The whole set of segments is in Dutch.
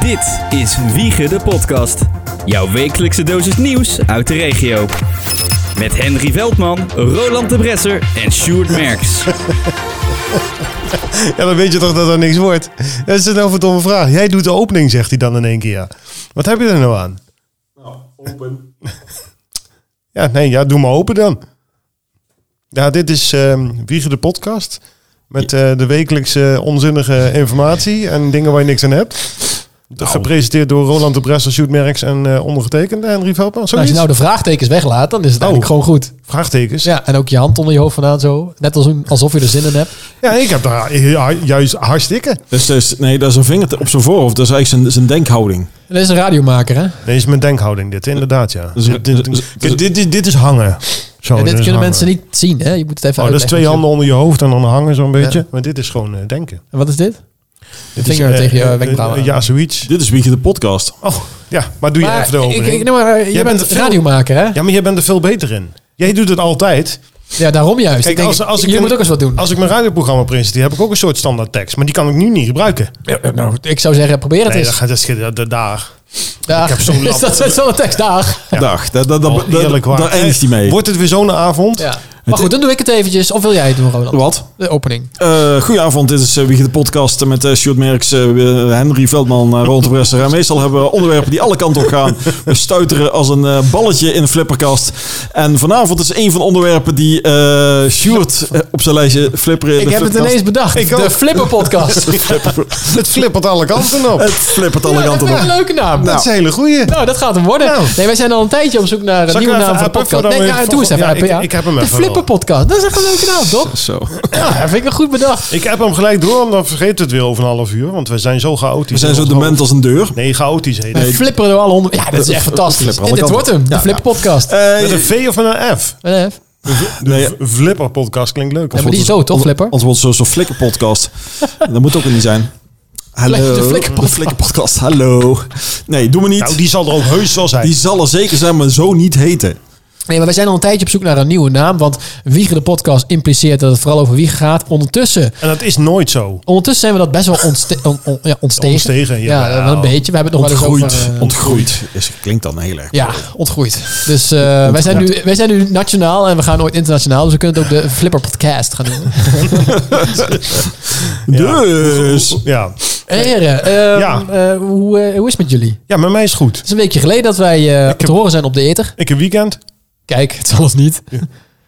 Dit is Wiegen de Podcast. Jouw wekelijkse dosis nieuws uit de regio. Met Henry Veldman, Roland de Bresser en Sjoerd Merks. Ja, dan weet je toch dat er niks wordt. Dat is een nou voor domme vraag. Jij doet de opening, zegt hij dan in één keer. Wat heb je er nou aan? Nou, open. Ja, nee, ja, doe maar open dan. Ja, dit is ehm Wiegen de podcast. Met eh, de wekelijkse onzinnige informatie en dingen waar je niks aan hebt. Nou. Gepresenteerd door Roland de Bresser, Sjoerd Merks en eh ondergetekende Henry Veldman. Nou, als je Zoiets? nou de vraagtekens weglaat, dan is het eigenlijk gewoon goed. Vraagtekens. Oh. Ja. Ja, en ook je hand onder je hoofd vandaan zo. Net als een- alsof je er zin in hebt. ik heb daar ja, juist hartstikke. Dus, dus, nee, dat is een vinger op zijn voorhoofd. Dat is eigenlijk zijn, zijn denkhouding. En dat is een radiomaker, hè? Nee, is mijn denkhouding dit, inderdaad, ja. Dus- dit, dit, dus- dit, dit- dit is hangen. Zo, en dit is kunnen hangen. mensen niet zien, hè? Je moet het even Oh, dat is uitleggen. twee handen onder je hoofd en dan hangen zo'n beetje. Ja. Maar dit is gewoon eh, denken. En wat is dit? Dit vinger is, eh, tegen je eh, wenkbrauwen eh, ja, zoiets. Dit is Wiegje de podcast. Oh, ja, maar doe je even de ik, opening. ik, nee, maar eh, Jij je bent bent veel- radiomaker, hè? Ja, Ja, maar jij bent er veel beter in. Jij doet het altijd. daarom juist. Kijk, ik denk, als- als ik je een- moet ook eens wat doen. Als ik mijn radioprogramma presenteer, heb ik ook een soort standaard tekst. Maar die kan ik nu niet gebruiken. ik zou zeggen, probeer het Nee, dat eens. gaat dat schiet- dat- dat- daar. Dag. ik heb zo'n Is dat lap- zo'n tekstdag? Dag. Dat, dat, dat, Oh, dat- eerlijk waar. daar eindigt hij mee. Wordt het weer zo'n avond? Ja. Maar goed, dan doe ik het eventjes. Of wil jij het doen, Roland? Wat? De opening. Eh goedenavond, dit is uh, de Podcast met eh Sjoerd Merks, eh, Henry Veldman, uh, Roland de Bresser. En meestal hebben we onderwerpen die alle kanten op gaan. We stuiteren als een eh, balletje in een flipperkast. En vanavond is een van de onderwerpen die eh Sjoerd eh, op zijn lijstje flipperen in Ik de heb het flipperkast. ineens bedacht. Ik de ook. Flipper Podcast. Het flippert alle kanten op. Het flippert alle Ja, dat kanten vind ik een op. leuke naam. Dat is een hele goeie. Nou, dat gaat hem worden. Nou. Nee, wij zijn al een tijdje op zoek naar een Zal ik nieuwe hem naam even voor de appen podcast. voordat Nee, we- ja, doe eens even Ja, appen, ik- ja. ik heb hem De even Flipper wel. Podcast. Dat is echt een leuke naam, toch? Zo. Ja, dat vind ik een goed bedacht. Ik heb hem gelijk door, want dan vergeet het weer over een half uur. Want we zijn zo chaotisch. We zijn zo dement als een deur. Nee, chaotisch heet het. We flipperen door alle onder... Ja, dat is echt fantastisch. flipperen En alle dit wordt kanten. hem, de Ja. Flipper Podcast. Ja, Eh, Met een V of met een F? maar De Nee. v- Flipper-podcast klinkt leuk. die is dood, toch, Flipper? Anders wordt het zo- zo'n flikkerpodcast. dat moet ook weer niet zijn. Hallo. De flikkerpodcast. De flikkerpodcast, hallo. Nee, doe me niet. Nou, die zal er ook heus wel zijn. die zal er zeker zijn, maar zo niet heten. Nee, maar wij zijn al een tijdje op zoek naar een nieuwe naam. Want Wiegen de Podcast impliceert dat het vooral over Wiegen gaat. Ondertussen, En dat is nooit zo. ondertussen zijn we dat best wel ontste on- on- ja, ontstegen. Ontstegen, ja. jawel. wel een beetje. We hebben het nog wel eens Ontgroeid. over... eh, Ontgroeid. Is, klinkt dan heel erg. Ja, ontgroeid. Dus eh, wij, zijn nu, wij zijn nu nationaal en we gaan ooit internationaal. Dus we kunnen het ook de Flipper Podcast gaan doen. Dus. Ja. Hey, heren, ehm, Ja. eh, hoe, eh, hoe is het met jullie? Het ja, met mij is het goed. is een weekje geleden dat wij eh, te horen zijn op de Eter. Ik heb weekend. Kijk, het zal ons niet.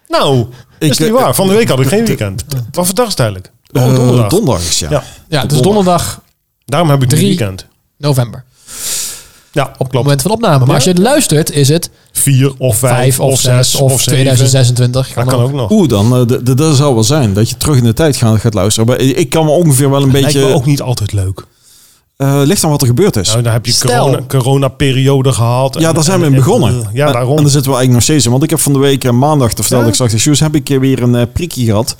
Nou, dat is Ik, niet eh, waar. Van de week had ik geen weekend. Wat voor dag is het eigenlijk? eh, Oh, donderdag. donderdag is, ja. Ja. Ja, het is donderdag Daarom heb ik drie Drie. weekend. november. Ja, Op het moment van opname. Maar als je het luistert, is het Vier of vijf, 5 of 6 of zeven. 2026. Dat kan ook nog. Oeh, dan, eh, d- d- dat zou wel zijn. Dat je terug in de tijd gaat, gaat luisteren. Maar ik kan me ongeveer wel een Lijkt me beetje... ook niet altijd leuk. eh, ligt aan wat er gebeurd is. Nou, dan heb je Stel. corona, corona-periode gehad. Ja, En- daar zijn we en- in en- begonnen. Ja, En daarom. daar zitten we eigenlijk nog steeds in. Want ik heb van de week eh, maandag, dat vertelde Ja. ik straks de shoes, heb ik eh, weer een eh, prikje gehad.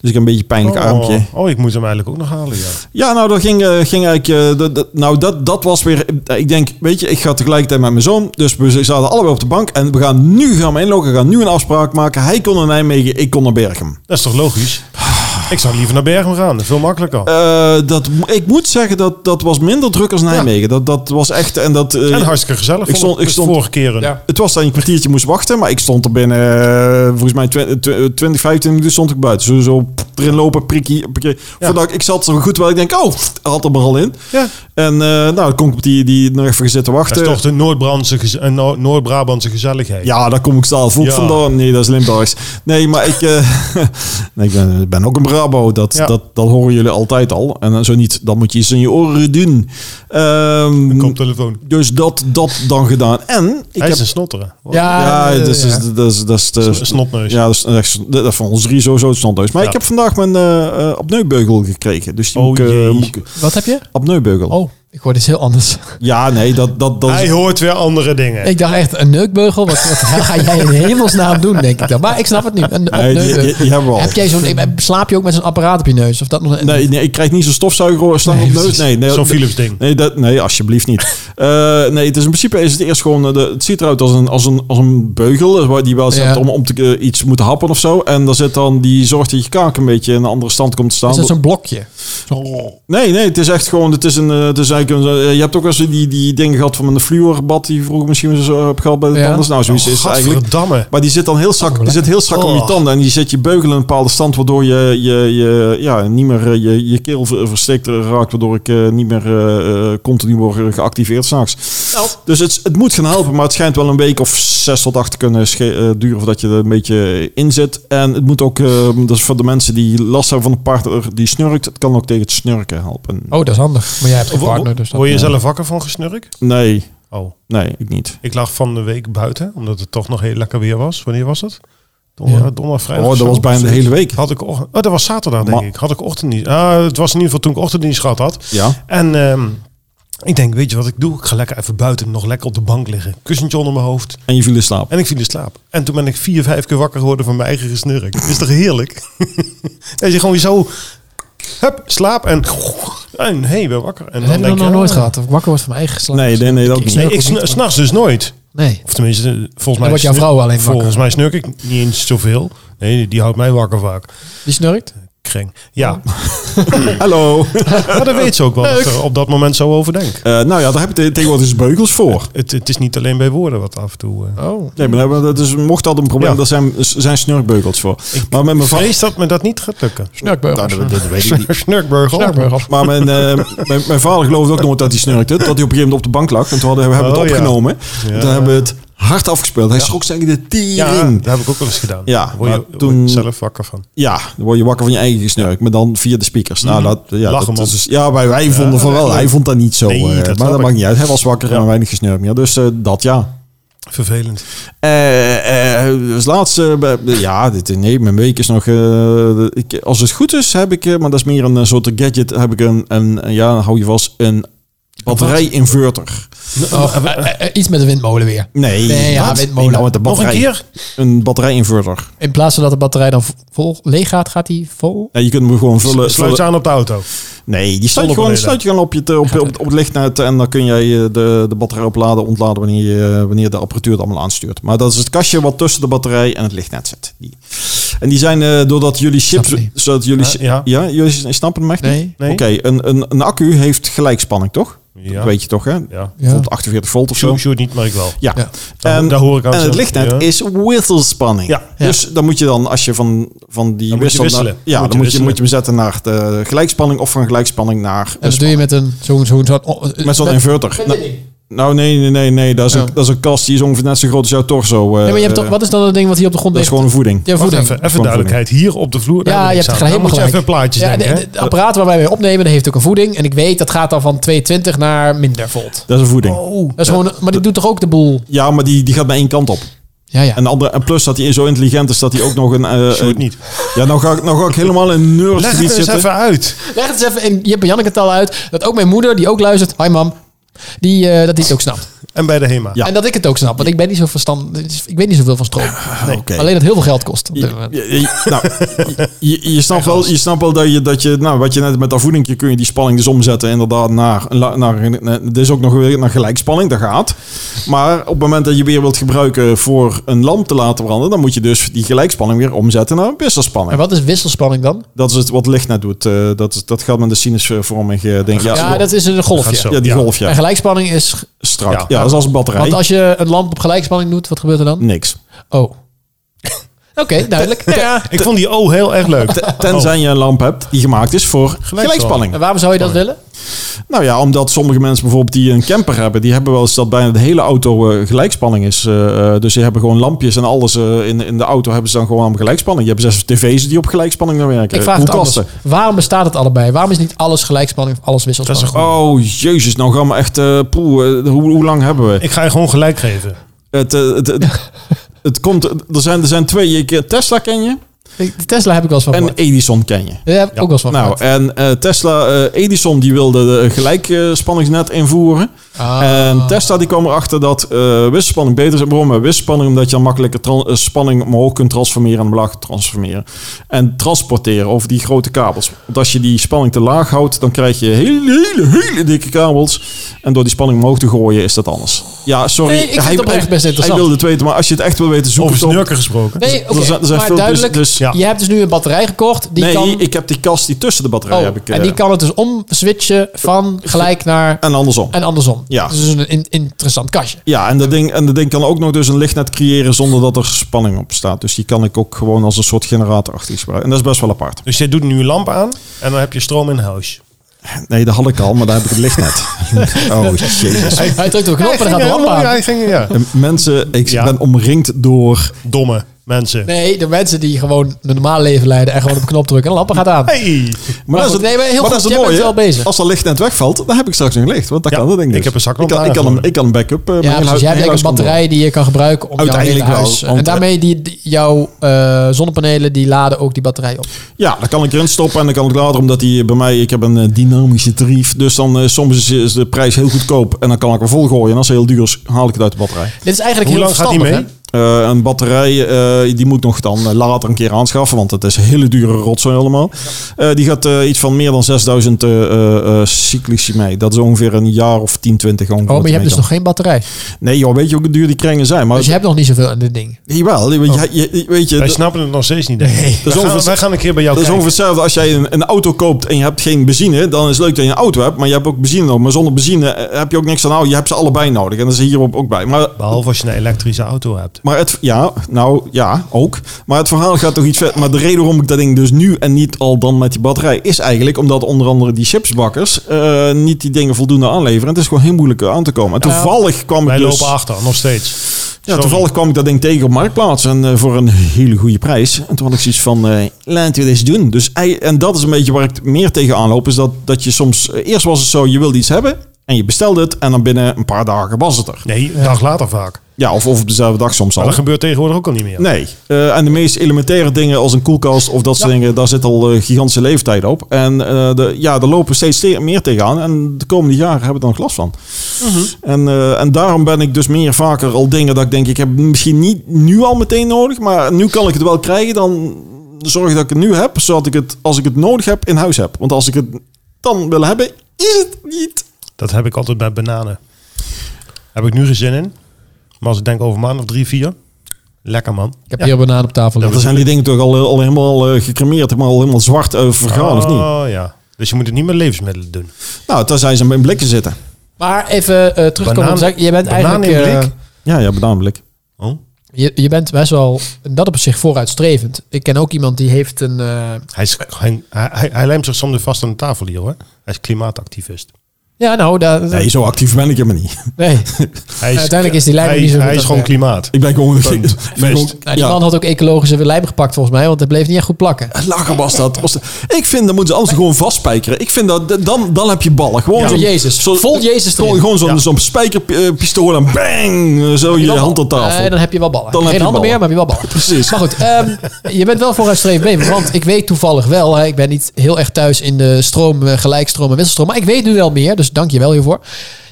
Dus ik heb een beetje een pijnlijk armpje. Oh, oh, ik moet hem eigenlijk ook nog halen, ja. Ja, nou, dat ging, eh, ging eigenlijk... eh, dat, dat- nou, dat, dat was weer... eh, Ik denk, weet je, ik ga tegelijkertijd met mijn zoon. Dus we zaten allebei op de bank. En we gaan nu gaan we inloggen. We gaan nu een afspraak maken. Hij kon naar Nijmegen, ik kon naar Berchem. Dat is toch logisch? Ik zou liever naar Bergen gaan. Dat is veel makkelijker. Eh, dat, ik moet zeggen, dat, dat was minder druk als Nijmegen. Dat, dat was echt... En dat, eh, en hartstikke gezellig. ik vond stond- ik de stond- vorige keren. Ja. Het was dat je een kwartiertje moest wachten, maar ik stond er binnen, eh, volgens mij 20, 20 25 minuten stond ik buiten. Zo, zo pff, erin lopen, prikkie, prikkie. Voordat ik, ik zat zo goed, wel ik denk, oh, pff, had hem er al in. Ja. En eh, nou, dan kon ik op die, die nog even zitten Dat wachten. is toch de Noord-Brabantse gez- eh, Noor- Noord-Brabantse gezelligheid. Eh, Ja, daar kom ik staal volk Ja. vandaan. Nee, dat is Limburgs. Nee, maar ik, eh, nee, ik ben, ik ben ook een Brabo. Dat, Ja. dat, dat horen jullie altijd al. En eh, zo niet, dan moet je iets in je oren doen. Ehm, Koptelefoon. dus dat, dat dan gedaan. En ik Hij heb is een snotteren. Ja, eh, dat is, ja. dat is, dat is de Een snotneus. Ja, dat is, dat is- dat is van ons drie sowieso het snotneus. Maar Ja. ik heb vandaag mijn eh eh, apneubeugel gekregen. Dus die Oh moet ik, eh, jee. moet ik- Wat heb je? apneubeugel. Oh, ik hoor iets heel anders. Ja, nee, dat, dat, dat Hij is... hoort weer andere dingen. Ik dacht echt, een neukbeugel? Wat, wat ga jij in hemelsnaam doen, denk ik dan. Maar ik snap het nu. Een, een Nee, die- neukbeugel. die- die hebben we al. Heb jij zo'n, eh, slaap je ook met zo'n apparaat op je neus? Of dat nog een, Nee, nee, ik krijg niet zo'n stofzuiger slang Nee, op neus. precies. Nee, nee, Zo'n dat- Philips ding. Nee, dat, nee alsjeblieft niet. Eh, nee, het is in principe is het eerst gewoon... eh, De, het ziet eruit als een, als een, als een beugel. eh, Waar die wel zit Ja. om, om te, eh, iets te moeten happen of zo. En daar zit dan... Die zorgt dat je kaak een beetje in een andere stand komt te staan. Is dat zo'n blokje? Oh. Nee, nee, het is echt gewoon, het is een, eh, het is eigenlijk ruiken. en zo. Eh, Je hebt ook wel eens die, die dingen gehad van een fluorbad die je vroeger misschien zo heb gehad bij de Ja. tandarts. Nou, zoiets Oh, is het eigenlijk. Gadverdamme. Maar die zit dan heel strak, die zit heel strak om je Oh. tanden. En die zet je beugel in een bepaalde stand, waardoor je, je, je ja, niet meer eh, je, je keel ver- verstikt raakt. Waardoor ik eh, niet meer eh, eh, continu word geactiveerd s'nachts. Dus het, het moet gaan helpen, maar het schijnt wel een week of zes tot acht te kunnen sche- eh, duren voordat je er een beetje in zit. En het moet ook, eh, dat is voor de mensen die last hebben van een partner die snurkt, het kan ook tegen het snurken helpen. Oh, dat is handig. Maar jij hebt geen partner, dus dat... Word je zelf wakker van gesnurk? Nee, Oh. nee, ik niet. Ik lag van de week buiten, omdat het toch nog heel lekker weer was. Wanneer was dat? Ja. Donderdag, donderdag vrijdag. Oh, of dat zo? was bijna de hele week. Had ik ochtend, oh, dat was zaterdag denk Ma- ik. Had ik ochtenddienst. Ah, het was in ieder geval toen ik ochtenddienst gehad had. Ja, En ehm, ik denk, weet je wat ik doe? Ik ga lekker even buiten, nog lekker op de bank liggen. Kussentje onder mijn hoofd. en je viel in slaap. En ik viel in slaap. En toen ben ik vier, vijf keer wakker geworden van mijn eigen gesnurk. Is toch heerlijk? dat je gewoon zo... Hup, slaap en... En hey, ben wakker. En Dat heb ik denk nog je, nooit ah, gehad. Of ik wakker word van mijn eigen geslacht. Nee, nee, nee, dat ook niet. Nee, ik sn- s'nachts dus nooit. Nee. Of tenminste, eh, volgens mij... wordt jouw snur- vrouw alleen wakker. Volgens mij snurk ik niet eens zoveel. Nee, die houdt mij wakker vaak. Die snurkt? Kreng. Ja, Hallo. maar dat weet ze ook wel dat ik er op dat moment zo over denk. Eh, nou ja, daar heb je te- tegenwoordig dus beugels voor. Het, het is niet alleen bij woorden wat af en toe... eh Oh. Nee, maar daar hebben we- dat is, mocht dat een probleem, Ja. daar zijn, zijn snurkbeugels voor. maar met mijn vrouw... vrees dat me dat niet gaat lukken. Snurkbeugel. Nou, dat, dat weet ik niet. Snurkburgel. Snurkbeugel. Maar mijn, eh, mijn, mijn vader geloofde ook nooit dat hij snurkte. Dat hij op een gegeven moment op de bank lag. En toen hadden, we hebben we Oh, het ja. opgenomen. Ja. Toen hebben we het hard afgespeeld. Hij schrok zeggen de Ja, tering. dat heb ik ook wel eens gedaan. Ja, Daar word je, maar word je toen- zelf wakker van. Ja, dan word je wakker van je eigen gesnurk. Maar dan via de speakers. Mhm. Nou, dat, ja, Lach dat, hem is- ja, wij, wij vonden van wel. Hij vond dat niet zo. Nee, eh, dat snap maar dat ik. maakt niet uit. Hij was wakker Ja. en weinig gesnurk meer. Dus eh, dat ja. Vervelend. Eh, eh, als laatste, eh, ja, dit, nee, mijn week is nog. eh, ik, als het goed is, heb ik, eh, maar dat is meer een eh, soort gadget, heb ik een, een een- ja, hou je vast, een batterij-inverter. Oh, eh, eh, iets met de windmolen weer. Nee, Nee, ja, wat? windmolen. Nee, nou, met de Nog een batterij. keer? Een batterij-inverter. In plaats van dat de batterij dan vol leeg gaat, gaat die vol. Ja, je kunt hem gewoon vullen. Sluit ze vullen- aan op de auto. Nee, die sluit je, gewoon, Zonnepanelen. sluit je gewoon op, je te- op, op, op het lichtnet en dan kun jij eh, de, de batterij opladen, ontladen wanneer, je, eh, wanneer de apparatuur het allemaal aanstuurt. Maar dat is het kastje wat tussen de batterij en het lichtnet zit. Die. En die zijn eh, doordat jullie Snap chips, niet. zodat jullie, Ja, chi- ja. ja. jullie snappen het echt niet? Nee. Nee? Oké, een, een, een accu heeft gelijkspanning, toch? Ja. Dat weet je toch, hè? Ja. Ja. Bijvoorbeeld 48 volt of zo. Sjoerd, Sjoerd niet, maar ik wel. Ja. Ja. Daar- En, daar hoor ik aan Ehm, en het zelf. lichtnet Ja. is whittlespanning. Ja. Ja. Dus dan moet je dan, als je van, van die Dan moet je wissel naar- wisselen. Moet ja, je dan moet je, wisselen. moet je hem zetten naar de gelijkspanning of van gelijkspanning naar... En dat doe je met een zo'n zo'n zo'n- oh, eh, Met zo'n inverter. Nou, nou, nee, nee, nee, nee. Dat is, Oh. een, dat is een kast die is ongeveer net zo groot als jouw torso. eh, Nee, maar je hebt eh, toch, wat is dan het ding wat hier op de grond Dat is ligt? gewoon een voeding. Ja, Wacht voeding. even, even duidelijkheid. Hier op de vloer. daar Ja, ben je ik hebt aan. het helemaal Dan moet je gelijk. even plaatjes Ja, denken. de, hè? de- de apparaat waarbij wij opnemen, dat heeft ook een voeding. En ik weet, dat gaat dan van 220 naar minder volt. Dat is een voeding. Oh. Dat is gewoon, maar die doet toch ook de boel? Ja, maar die, die gaat maar één kant op. Ja, ja. En, de andere, en plus dat hij zo intelligent is dat hij ook nog een... eh, Sjoerd eh, niet. Ja, nou ga ik, nou ga ik helemaal in Leg het nerdgebied er eens zitten. even uit. Leg het eens even in Jip en Janneke taal uit. Dat ook mijn moeder, die ook luistert. Hi mam. Die, eh, dat die het ook snapt. En bij de HEMA. Ja. En dat ik het ook snap. Want ik ben niet zo verstand. Ik weet niet zoveel van stroom. Oké. Alleen dat heel veel geld kost. Op dit Je, moment. je- je- nou, je, je, snapt wel, je snapt wel dat je, dat je, nou, wat je net met dat voedingje kun je die spanning dus omzetten inderdaad naar, naar, naar dit is ook nog weer naar gelijkspanning, dat gaat. Maar op het moment dat je weer wilt gebruiken voor een lamp te laten branden, dan moet je dus die gelijkspanning weer omzetten naar een En wisselspanning. wat is wisselspanning dan? Dat is het wat licht net doet. eh, dat, is- dat gaat met de sinusvormige, eh, denk je. Ja, Ja, ja, dat is een Gaat zo. golfje. die ja. golf, ja. En gelijkspanning is... Strak. Ja. Ja, dat is als een batterij. Want als je een lamp op gelijkspanning doet, wat gebeurt er dan? Niks. Oh. Oké, duidelijk. Ja. Ik vond die O heel erg leuk. Tenzij je een lamp hebt die gemaakt is voor gelijkspanning. En waarom zou je dat willen? Nou ja, omdat sommige mensen bijvoorbeeld die een camper hebben, die hebben wel eens dat bijna de hele auto eh, gelijkspanning is. Eh, eh, dus ze hebben gewoon lampjes en alles eh, in, in de auto hebben ze dan gewoon allemaal gelijkspanning. Je hebt zelfs tv's die op gelijkspanning dan werken. Ik vraag het Eh, Hoe anders. kosten? Waarom bestaat het allebei? Waarom is niet alles gelijkspanning of alles wisselspanning? Oh jezus, nou gaan we echt. eh, poeh, eh, hoe, hoe lang hebben we? Oh, Ik ga je gewoon gelijk geven. Het, eh, het, het, het komt. Er zijn, er zijn twee. Je kent- Tesla ken je Ik- de Tesla heb ik wel eens van en gehoord. Edison ken je. Daar heb ik ook wel eens van Nou, gehoord. en eh, Tesla, eh, Edison die wilde eh, de gelijkspanningsnet invoeren. Ah. En Tesla die kwam erachter dat eh wisselspanning beter is. Waarom? Eh, Wisselspanning omdat je dan makkelijker tran- eh, spanning omhoog kunt transformeren en omlaag transformeren. En transporteren over die grote kabels. Want als je die spanning te laag houdt, dan krijg je hele, hele, hele dikke kabels. En door die spanning omhoog te gooien is dat anders. Ja, sorry. Nee, ik vind hij, het oprecht best interessant. Hij wilde het weten, maar als je het echt wil weten, zoek Over het op. snurken gesproken. Nee, oké. eh, Er zijn- er maar zijn veel- dus- duidelijk, dus- ja. je hebt dus nu een batterij gekocht. Die nee, kan, ik heb die kast die tussen de batterij oh, heb ik. en eh, die kan het dus omswitchen van gelijk naar en andersom. en andersom. Ja. Dus het is een in- interessant kastje. Ja, en dat, ding, en dat ding kan ook nog dus een lichtnet creëren zonder dat er spanning op staat. Dus die kan ik ook gewoon als een soort generator achter iets gebruiken. En dat is best wel apart. Dus je doet nu een lamp aan en dan heb je stroom in huis. Nee, dat had ik al, maar daar heb ik het lichtnet. Oh, jezus. Hij drukt op een knop en dan gaat de lamp helemaal- aan. hij ging, ja. Mensen, ik Ja. ben omringd door... Domme mensen. Nee, de mensen die gewoon een normaal leven leiden en gewoon op een knop drukken en de lamp gaat aan. Hey. Maar, goed, nee, maar heel goed, dat is jij het bent mooie. wel bezig. Als dat lichtnet wegvalt, dan heb ik straks een licht. Want dat Ja, kan dat ding ik dus. heb een zak ik kan, ik kan, lamparen een, ik kan een backup... eh, Ja, mijn hele precies. huis- Jij mijn hebt eigenlijk huis een kan batterij die je kan gebruiken om jouw hele Uiteindelijk wel, huis... want- en daarmee die, die- jouw eh, zonnepanelen, die laden ook die batterij op. door. Ja, dan kan ik erin stoppen en dan kan ik later, omdat die bij mij... Ik heb een eh, dynamische tarief, dus dan eh, soms is, is de prijs heel goedkoop. En dan kan ik hem volgooien. En als hij heel duur is, haal ik het uit de batterij. Dit is eigenlijk Hoe heel lang gaat die mee? verstandig, hè? Eh, een batterij, eh, die moet nog dan eh, later een keer aanschaffen, want het is een hele dure rotzooi allemaal. Eh, die gaat eh, iets van meer dan 6000 eh, eh, eh, cyclici mee. Dat is ongeveer een jaar of 10, 20 Oh, maar je hebt dus nog geen batterij. Dus Nee joh, weet je hoe duur die kringen zijn? Maar je Oh. hebt nog niet zoveel aan dit ding. Jawel, je- je- je- weet je... Wij dat- snappen het nog steeds niet. denk ik. Wij, Dat is gaan, ongeveer- wij gaan een keer bij jou Dat is kijken. ongeveer hetzelfde als jij een, een auto koopt en je hebt geen benzine. Dan is het leuk dat je een auto hebt, maar je hebt ook benzine nodig. Maar zonder benzine eh, heb je ook niks aan. Nou, je hebt ze allebei nodig. En dat is hierop ook bij. Maar Behalve als je een elektrische auto hebt. Maar het, ja, nou ja, ook. Maar het verhaal gaat toch iets vet. Maar de reden waarom ik dat ding dus nu en niet al dan met die batterij is eigenlijk omdat onder andere die chipsbakkers eh, niet die dingen voldoende aanleveren. Het is gewoon heel moeilijk aan te komen. En toevallig kwam Wij ik dus, lopen achter, nog steeds. ja, Sorry. toevallig kwam ik dat ding tegen op marktplaats en eh, voor een hele goede prijs. En toen had ik zoiets van eh, laten we dit doen. Dus ei- en dat is een beetje waar ik meer tegen aanloop is dat dat je soms eh, eerst was het zo je wilde iets hebben en je bestelde het en dan binnen een paar dagen was het er. Nee, een dag later vaak. Ja, of, of op dezelfde dag soms al. Maar dat gebeurt tegenwoordig ook al niet meer. Nee. Eh, en de meest elementaire dingen als een koelkast of dat soort dingen, daar zit al eh, gigantische leeftijd op. En eh, de, ja, daar lopen we steeds te- meer tegenaan. En de komende jaren hebben we er nog last van. En, eh, en daarom ben ik dus meer vaker al dingen dat ik denk, ik heb misschien niet nu al meteen nodig, maar nu kan ik het wel krijgen. Dan zorg dat ik het nu heb, zodat ik het, als ik het nodig heb, in huis heb. Want als ik het dan wil hebben, is het niet. Dat heb ik altijd bij bananen. Heb ik nu geen zin in. Maar als ik denk over een maand of drie, vier. Lekker man. Ik heb Ja. hier een banaan op tafel Dan liggen. zijn die dingen toch al, al helemaal eh, gecremeerd, helemaal, helemaal zwart eh, vergaan, of niet? Oh ja. Dus je moet het niet met levensmiddelen doen. Nou, tenzij ze in blikken zitten. Maar even eh terugkomen op Banaan- de zaak. Je bent banaan eigenlijk... in eh, blik? Ja, ja, bedankt. Oh. je, je bent best wel, en dat op zich, vooruitstrevend. Ik ken ook iemand die heeft een... eh, Hij, is, hij, hij, hij lijmt zich soms vast aan de tafel hier hoor. Hij is klimaatactivist. ja, nou, daar, Nee, zo actief ben ik helemaal niet. nee. Nou, Hij is, Uiteindelijk is die lijn hij, niet zo goed Hij is als gewoon wij. klimaat. Ik ben gewoon... Punt. ik ben gewoon- Nou, die ja. man had ook ecologische lijm gepakt volgens mij, want het bleef niet echt goed plakken. Lachen was dat. was dat- Ik vind, dan moeten ze anders gewoon vastspijkeren. Ik vind dat, dat- dan, dan heb je ballen. Gewoon Ja. zo'n- Jezus. zo'n- Vol Jezus Gewoon, erin. gewoon zo'n Ja. zo'n spijkerpistool en bang! Zo je dan- hand op tafel. Nee, dan heb je wel ballen. Dan heb Geen je handen meer, ballen. maar heb je wel ballen. Precies. Maar goed, ehm, je bent wel vooruitstrevend bezig. Want ik weet toevallig wel, hè, ik ben niet heel erg thuis in de stroom, eh, gelijkstroom en wisselstroom. Maar ik weet nu wel meer, dus dank je wel hiervoor.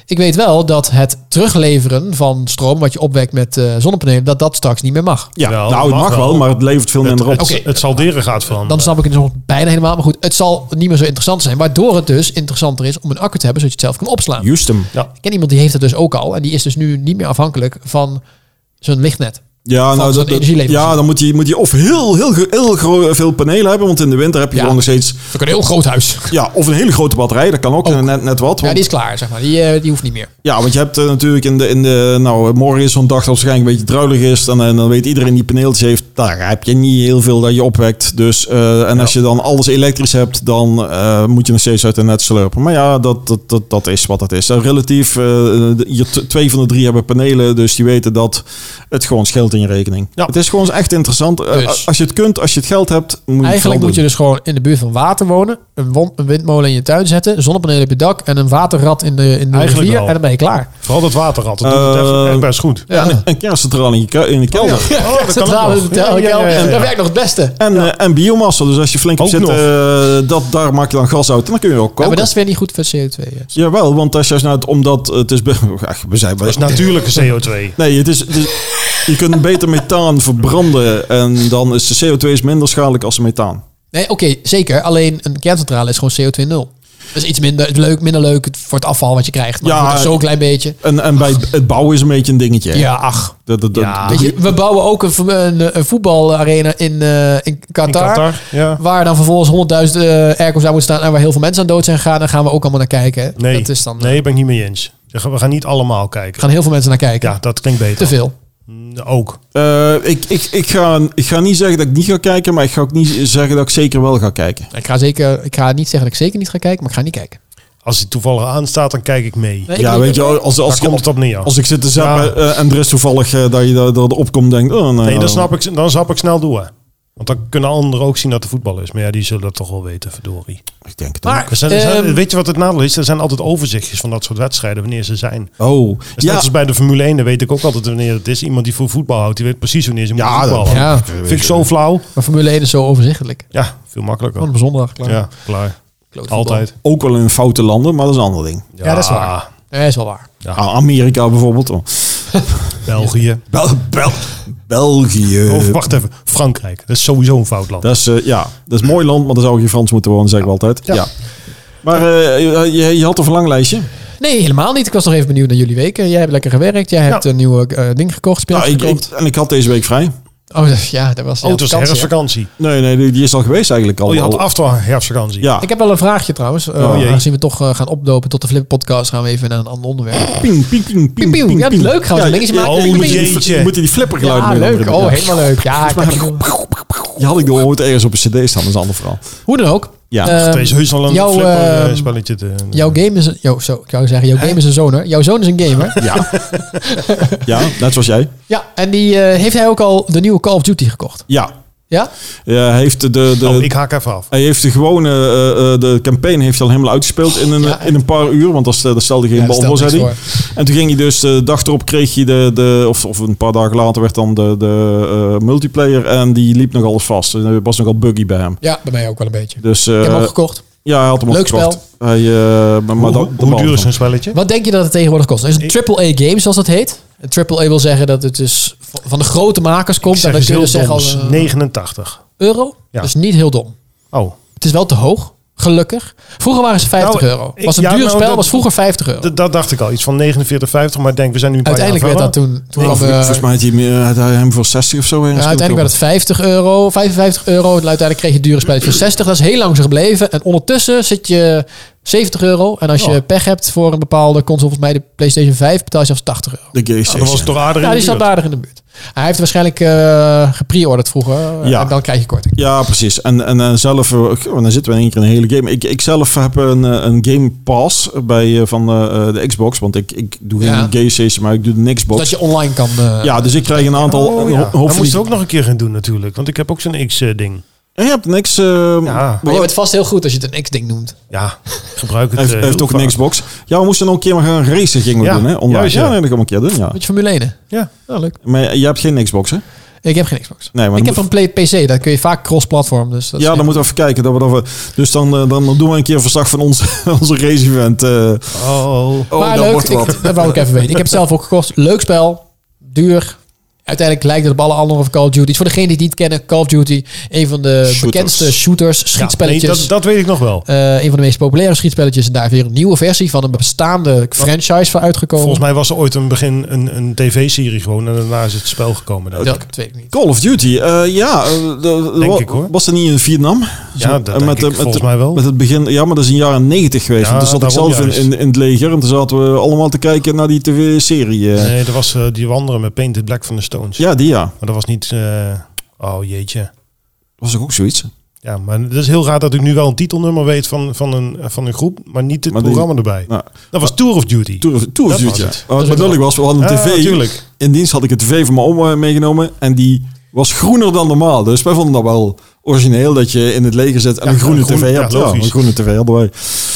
Ik weet wel dat het terugleveren van stroom wat je opwekt met eh, zonnepanelen, dat dat straks niet meer mag. ja, Wel, nou, het mag wel, maar het levert veel Het, minder op. het, Oké. het salderen gaat veranderen. Dan snap ik het nog bijna helemaal. Maar goed, het zal niet meer zo interessant zijn. Waardoor het dus interessanter is om een accu te hebben, zodat je het zelf kan opslaan. Justum. ja. Ik ken iemand die heeft dat dus ook al. En die is dus nu niet meer afhankelijk van zo'n lichtnet. Ja, nou, zo'n dat, dat- energieleverancier. ja, dan moet je, moet je of heel, heel, heel, gro- veel panelen hebben. Want in de winter heb je Ja. gewoon nog steeds... Dat kan een heel groot huis. Ja, of een hele grote batterij. Dat kan ook, Net, net wat. Ja, want- die is klaar, zeg maar. Die, eh, die hoeft niet meer. Ja, want je hebt eh, natuurlijk in de, in de. Nou, morgen is zo'n dag dat het waarschijnlijk een beetje druilig is. Dan, en dan weet iedereen die paneeltjes heeft. Daar heb je niet heel veel dat je opwekt. Dus, eh, en als je dan alles elektrisch hebt, dan eh, moet je nog steeds uit de net slurpen. Maar ja, dat, dat, dat, dat is wat dat is. En relatief, eh, de- je t- twee van de drie hebben panelen. Dus die weten dat het gewoon scheelt in je rekening. Ja. Het is gewoon echt interessant. Eh, Dus. Als je het kunt, als je het geld hebt, moet je het Eigenlijk vooral moet je doen. dus gewoon in de buurt van water wonen. Een, won- een windmolen in je tuin zetten. Zonnepanelen op je dak. En een waterrad in de, in de Eigenlijk rivier. wel. En dan ben je klaar. Vooral dat waterrad. Dat doet het Eh, echt- echt best goed. Ja, en een kerncentrale in je ke- in de kelder. Oh, dat Oh, kan ook Centrale nog. hotel. Ja, ja, ja, ja, ja. Dat werkt nog het beste. Ja, En, eh, en biomassa. Dus als je flink op Ook zit, nog. eh, dat, daar maak je dan gas uit. En dan kun je ook koken. maar dat is weer niet goed voor CO2. hè. Jawel, want dat is juist nou het, omdat het is... be- Ach, we zijn bij... Dat is nou- natuurlijke CO2. Nee, het is, het is- je kunt beter methaan verbranden en dan is de CO2 is minder schadelijk als de methaan. Nee, oké, zeker. Alleen een kerncentrale is gewoon CO2 nul. Dus iets minder leuk, minder leuk voor het afval wat je krijgt. Maar Ja, goed, eh, zo'n klein beetje. En, en bij het bouwen is een beetje een dingetje. hè? Ja, ach. Dat, dat, dat- Ja. dat- Weet je, we bouwen ook een, v- een, een voetbalarena in, eh, in, In Qatar, Qatar, ja. Waar dan vervolgens 100.000 eh airco's aan moeten staan. En waar heel veel mensen aan dood zijn gegaan. Daar gaan we ook allemaal naar kijken. hè. Nee, Dat is dan, eh, nee, ben ik niet mee eens. Zeg, We gaan niet allemaal kijken. gaan heel veel mensen naar kijken. Ja, dat klinkt beter. Te veel. Mm, Ook. Eh, ik, ik, ik, ga, ik ga niet zeggen dat ik niet ga kijken, maar ik ga ook niet zeggen dat ik zeker wel ga kijken. Ik ga, zeker, ik ga niet zeggen dat ik zeker niet ga kijken, maar ik ga niet kijken. Als hij toevallig aanstaat, dan kijk ik mee. Nee, ik ja, niet. weet je, als, als, Daar ik, komt het op neer. als ik zit te zappen Ja. eh, en er is toevallig eh, dat je daar dat erop komt, denk oh, nou, nee, dan snap ik, dan snap ik snel door. Want dan kunnen anderen ook zien dat er voetbal is. Maar ja, die zullen dat toch wel weten, verdorie. Ik denk het Maar, Er zijn- er zijn- ehm, weet je wat het nadeel is? Er zijn altijd overzichtjes van dat soort wedstrijden, wanneer ze zijn. ook. Oh, Dus net ja. als bij de Formule 1, dan weet ik ook altijd wanneer het is. Iemand die voor voetbal houdt, die weet precies wanneer ze Ja, moeten voetballen. ja, Vind ik zo flauw. maar Formule 1 is zo overzichtelijk. Ja, veel makkelijker. Gewoon op zondag, Oh, klaar. Ja, klaar. Klote voetbal. Altijd. Ook wel in foute landen, maar dat is een ander ding. Ja, dat is waar. Nee, Eh, is wel waar. Ah, Amerika bijvoorbeeld. Oh. België. Bel, Bel- België. Of wacht even, Frankrijk. Dat is sowieso een fout land. Dat is, eh, ja, dat is een mooi land, maar dan zou ik in Frans moeten wonen, zeggen we altijd. Ja. Ja. Maar eh, je, je had een verlanglijstje. Nee, helemaal niet. Ik was nog even benieuwd naar jullie weken. Jij hebt lekker gewerkt. Jij hebt een nieuw eh, ding gekocht, Nou, speeltje ik, ik- gekocht. en ik had deze week vrij. Oh, dat- ja, dat was Oh, het was vakantie, hè? herfstvakantie. Nee, nee, die, die is al geweest eigenlijk al. Oh, je had al- aftal herfstvakantie. Ja, Ik heb wel een vraagje trouwens. Eh jee. aangezien we toch eh, gaan opdopen tot de Flip Podcast, gaan we even naar een ander onderwerp. Ping, ping, ping, Ping, ping. Ja, dat is leuk. Gaan we zo'n dingetje maken? oh, Moet jeetje. je die, moet je die flippergeluid Ja, mee leuk. hebben. Oh, Ja. helemaal leuk. Ja, ik heb- Die had ik nog ooit ergens op een cd staan, dat is een ander verhaal. Hoe dan ook. Ja. Eh, Er is heus al een jouw, flipper, ehm, eh, spelletje te... jouw game is een... Yo, zo, ik zou zeggen, jouw game is een zoner. Jouw zoon is een gamer. Ja. ja, net zoals jij. ja, en die eh, heeft hij ook al de nieuwe Call of Duty gekocht. Ja. Ja? Eh, heeft de, de, Oh, ik haak even af. Hij heeft de gewone, eh, eh, de campaign heeft hij al helemaal uitgespeeld in een, Ja. in een paar uur. Want dat, stel- dat stelde geen Ja, dat bal voor, stelt zei hij. niks En toen ging hij dus, de dag erop kreeg hij de, de of, of een paar dagen later werd dan de, de eh, multiplayer. En die liep nog alles vast. En Er was nogal buggy bij hem. Ja, bij mij ook wel een beetje. Dus ik eh, heb hem ook gekocht. ja, hij had hem al Leuk gekocht. Hij, eh, maar Hoe, maar dat- hoe- de hoe bal duur is van- zo'n spelletje? Wat denk je dat het tegenwoordig kost? Het is Ik- een AAA game, zoals dat heet. Een AAA wil zeggen dat het dus v- van de grote makers komt. Ik zeg en dan iets kun je heel dus zeggen doms. als eh, 89. euro. Ja. Dus niet heel dom. Oh, Het is wel te hoog, gelukkig. Vroeger waren ze 50 Nou, euro. ik- Was een ja, duur nou, spel, dat- was vroeger 50 euro. d- dat dacht ik al. Iets van 49,50. Maar ik denk, we zijn nu een paar Uiteindelijk werd jaar dat verder. toen... toen Of, hadden we- volgens mij had hij hem, eh, had hij hem voor 60 of zo. ja, uiteindelijk werd het 50 euro, 55 euro. En Uiteindelijk kreeg je dure spelletjes voor 60. Dat is heel lang zo gebleven. En ondertussen zit je 70 euro. En als Oh. je Ja. pech hebt voor een bepaalde console, volgens mij de PlayStation 5, betaal je zelfs 80 euro. De Gears Ja, Ah, dat was toch aardig Ja, in die de zat buurt. aardig in de buurt. Hij heeft waarschijnlijk eh gepre-orderd vroeger. Ja. En dan krijg je korting. Ja, precies. En, en eh, zelf, eh, goh, dan zitten we in één keer in een hele game. Ik, ik zelf heb een, eh, een Game Pass bij, eh, van eh, eh, de Xbox. Want ik, ik doe geen Ja. Game Station, maar ik doe de Xbox. Dat je online kan... eh, ja, dus ik krijg een aantal... Oh, een ho- ja. Dat hoop van moest die- je ook nog een keer gaan doen natuurlijk. Want ik heb ook zo'n X-ding. En je hebt niks... eh, Ja. Maar je bent vast heel goed als je het een X-ding noemt. Ja, gebruik het. Hij heeft, eh, hij heeft heel ook een vaak. Xbox. Ja, we moesten nog een keer maar gaan racen, gingen we Ja, doen, hè? Online. juist, ja, ja. nee, dat gaan we een keer doen, ja. Met je Formule 1. Ja. Ja, leuk. Maar je hebt geen Xbox, hè? Ik heb geen Xbox. Nee, maar ik dan heb een Play PC, daar kun je vaak cross-platform. Dus dat is- Ja, dan moeten we even kijken. Dat we, dat we, dus dan, eh, dan doen we een keer een verslag van ons, onze race-event. eh. Oh, oh, maar dat leuk, wordt wat. ik, dat wou ik even weten. Ik heb het zelf ook gekocht. Leuk spel, duur. Uiteindelijk lijkt het op alle andere Call of Duty's. Voor degenen die het niet kennen, Call of Duty, een van de Shooters. bekendste shooters, ja, schietspelletjes. nee, dat, dat weet ik nog wel. Eh, een van de meest populaire schietspelletjes. En daar weer een nieuwe versie van een bestaande franchise voor uitgekomen. Volgens mij was er ooit een begin een, een tv-serie gewoon. En daarna is het spel gekomen. denk ik. dat weet ik niet. Call of Duty, eh, ja. eh, de- Denk wa- ik, hoor. Was dat niet in Vietnam? Ja, dat eh, denk ik eh, volgens eh, mij wel. Met het begin, ja, maar dat is in jaren negentig geweest. Ja, want toen zat ik daarom zelf in, juist. in, in het leger en toen zaten we allemaal te kijken naar die tv-serie. eh. Nee, dat was eh, die andere met Painted Black van de Stones. Ja, die ja. Maar dat was niet... eh, oh, jeetje. Was ook zoiets. Ja, maar het is heel raar dat ik nu wel een titelnummer weet van, van, een, van een groep, maar niet het Maar die- programma erbij. Nou, Dat was Tour of Duty. Tour of, Tour of Dat was Duty. ja. het. Maar Wat bedoelig was, we hadden een Ah, tv. tuurlijk. in dienst had ik een tv van mijn oma meegenomen en die was groener dan normaal. Dus wij vonden dat wel origineel dat je in het leger zit en een groene een groen- tv ja, hebt. Ja, logisch. een groene tv hadden wij.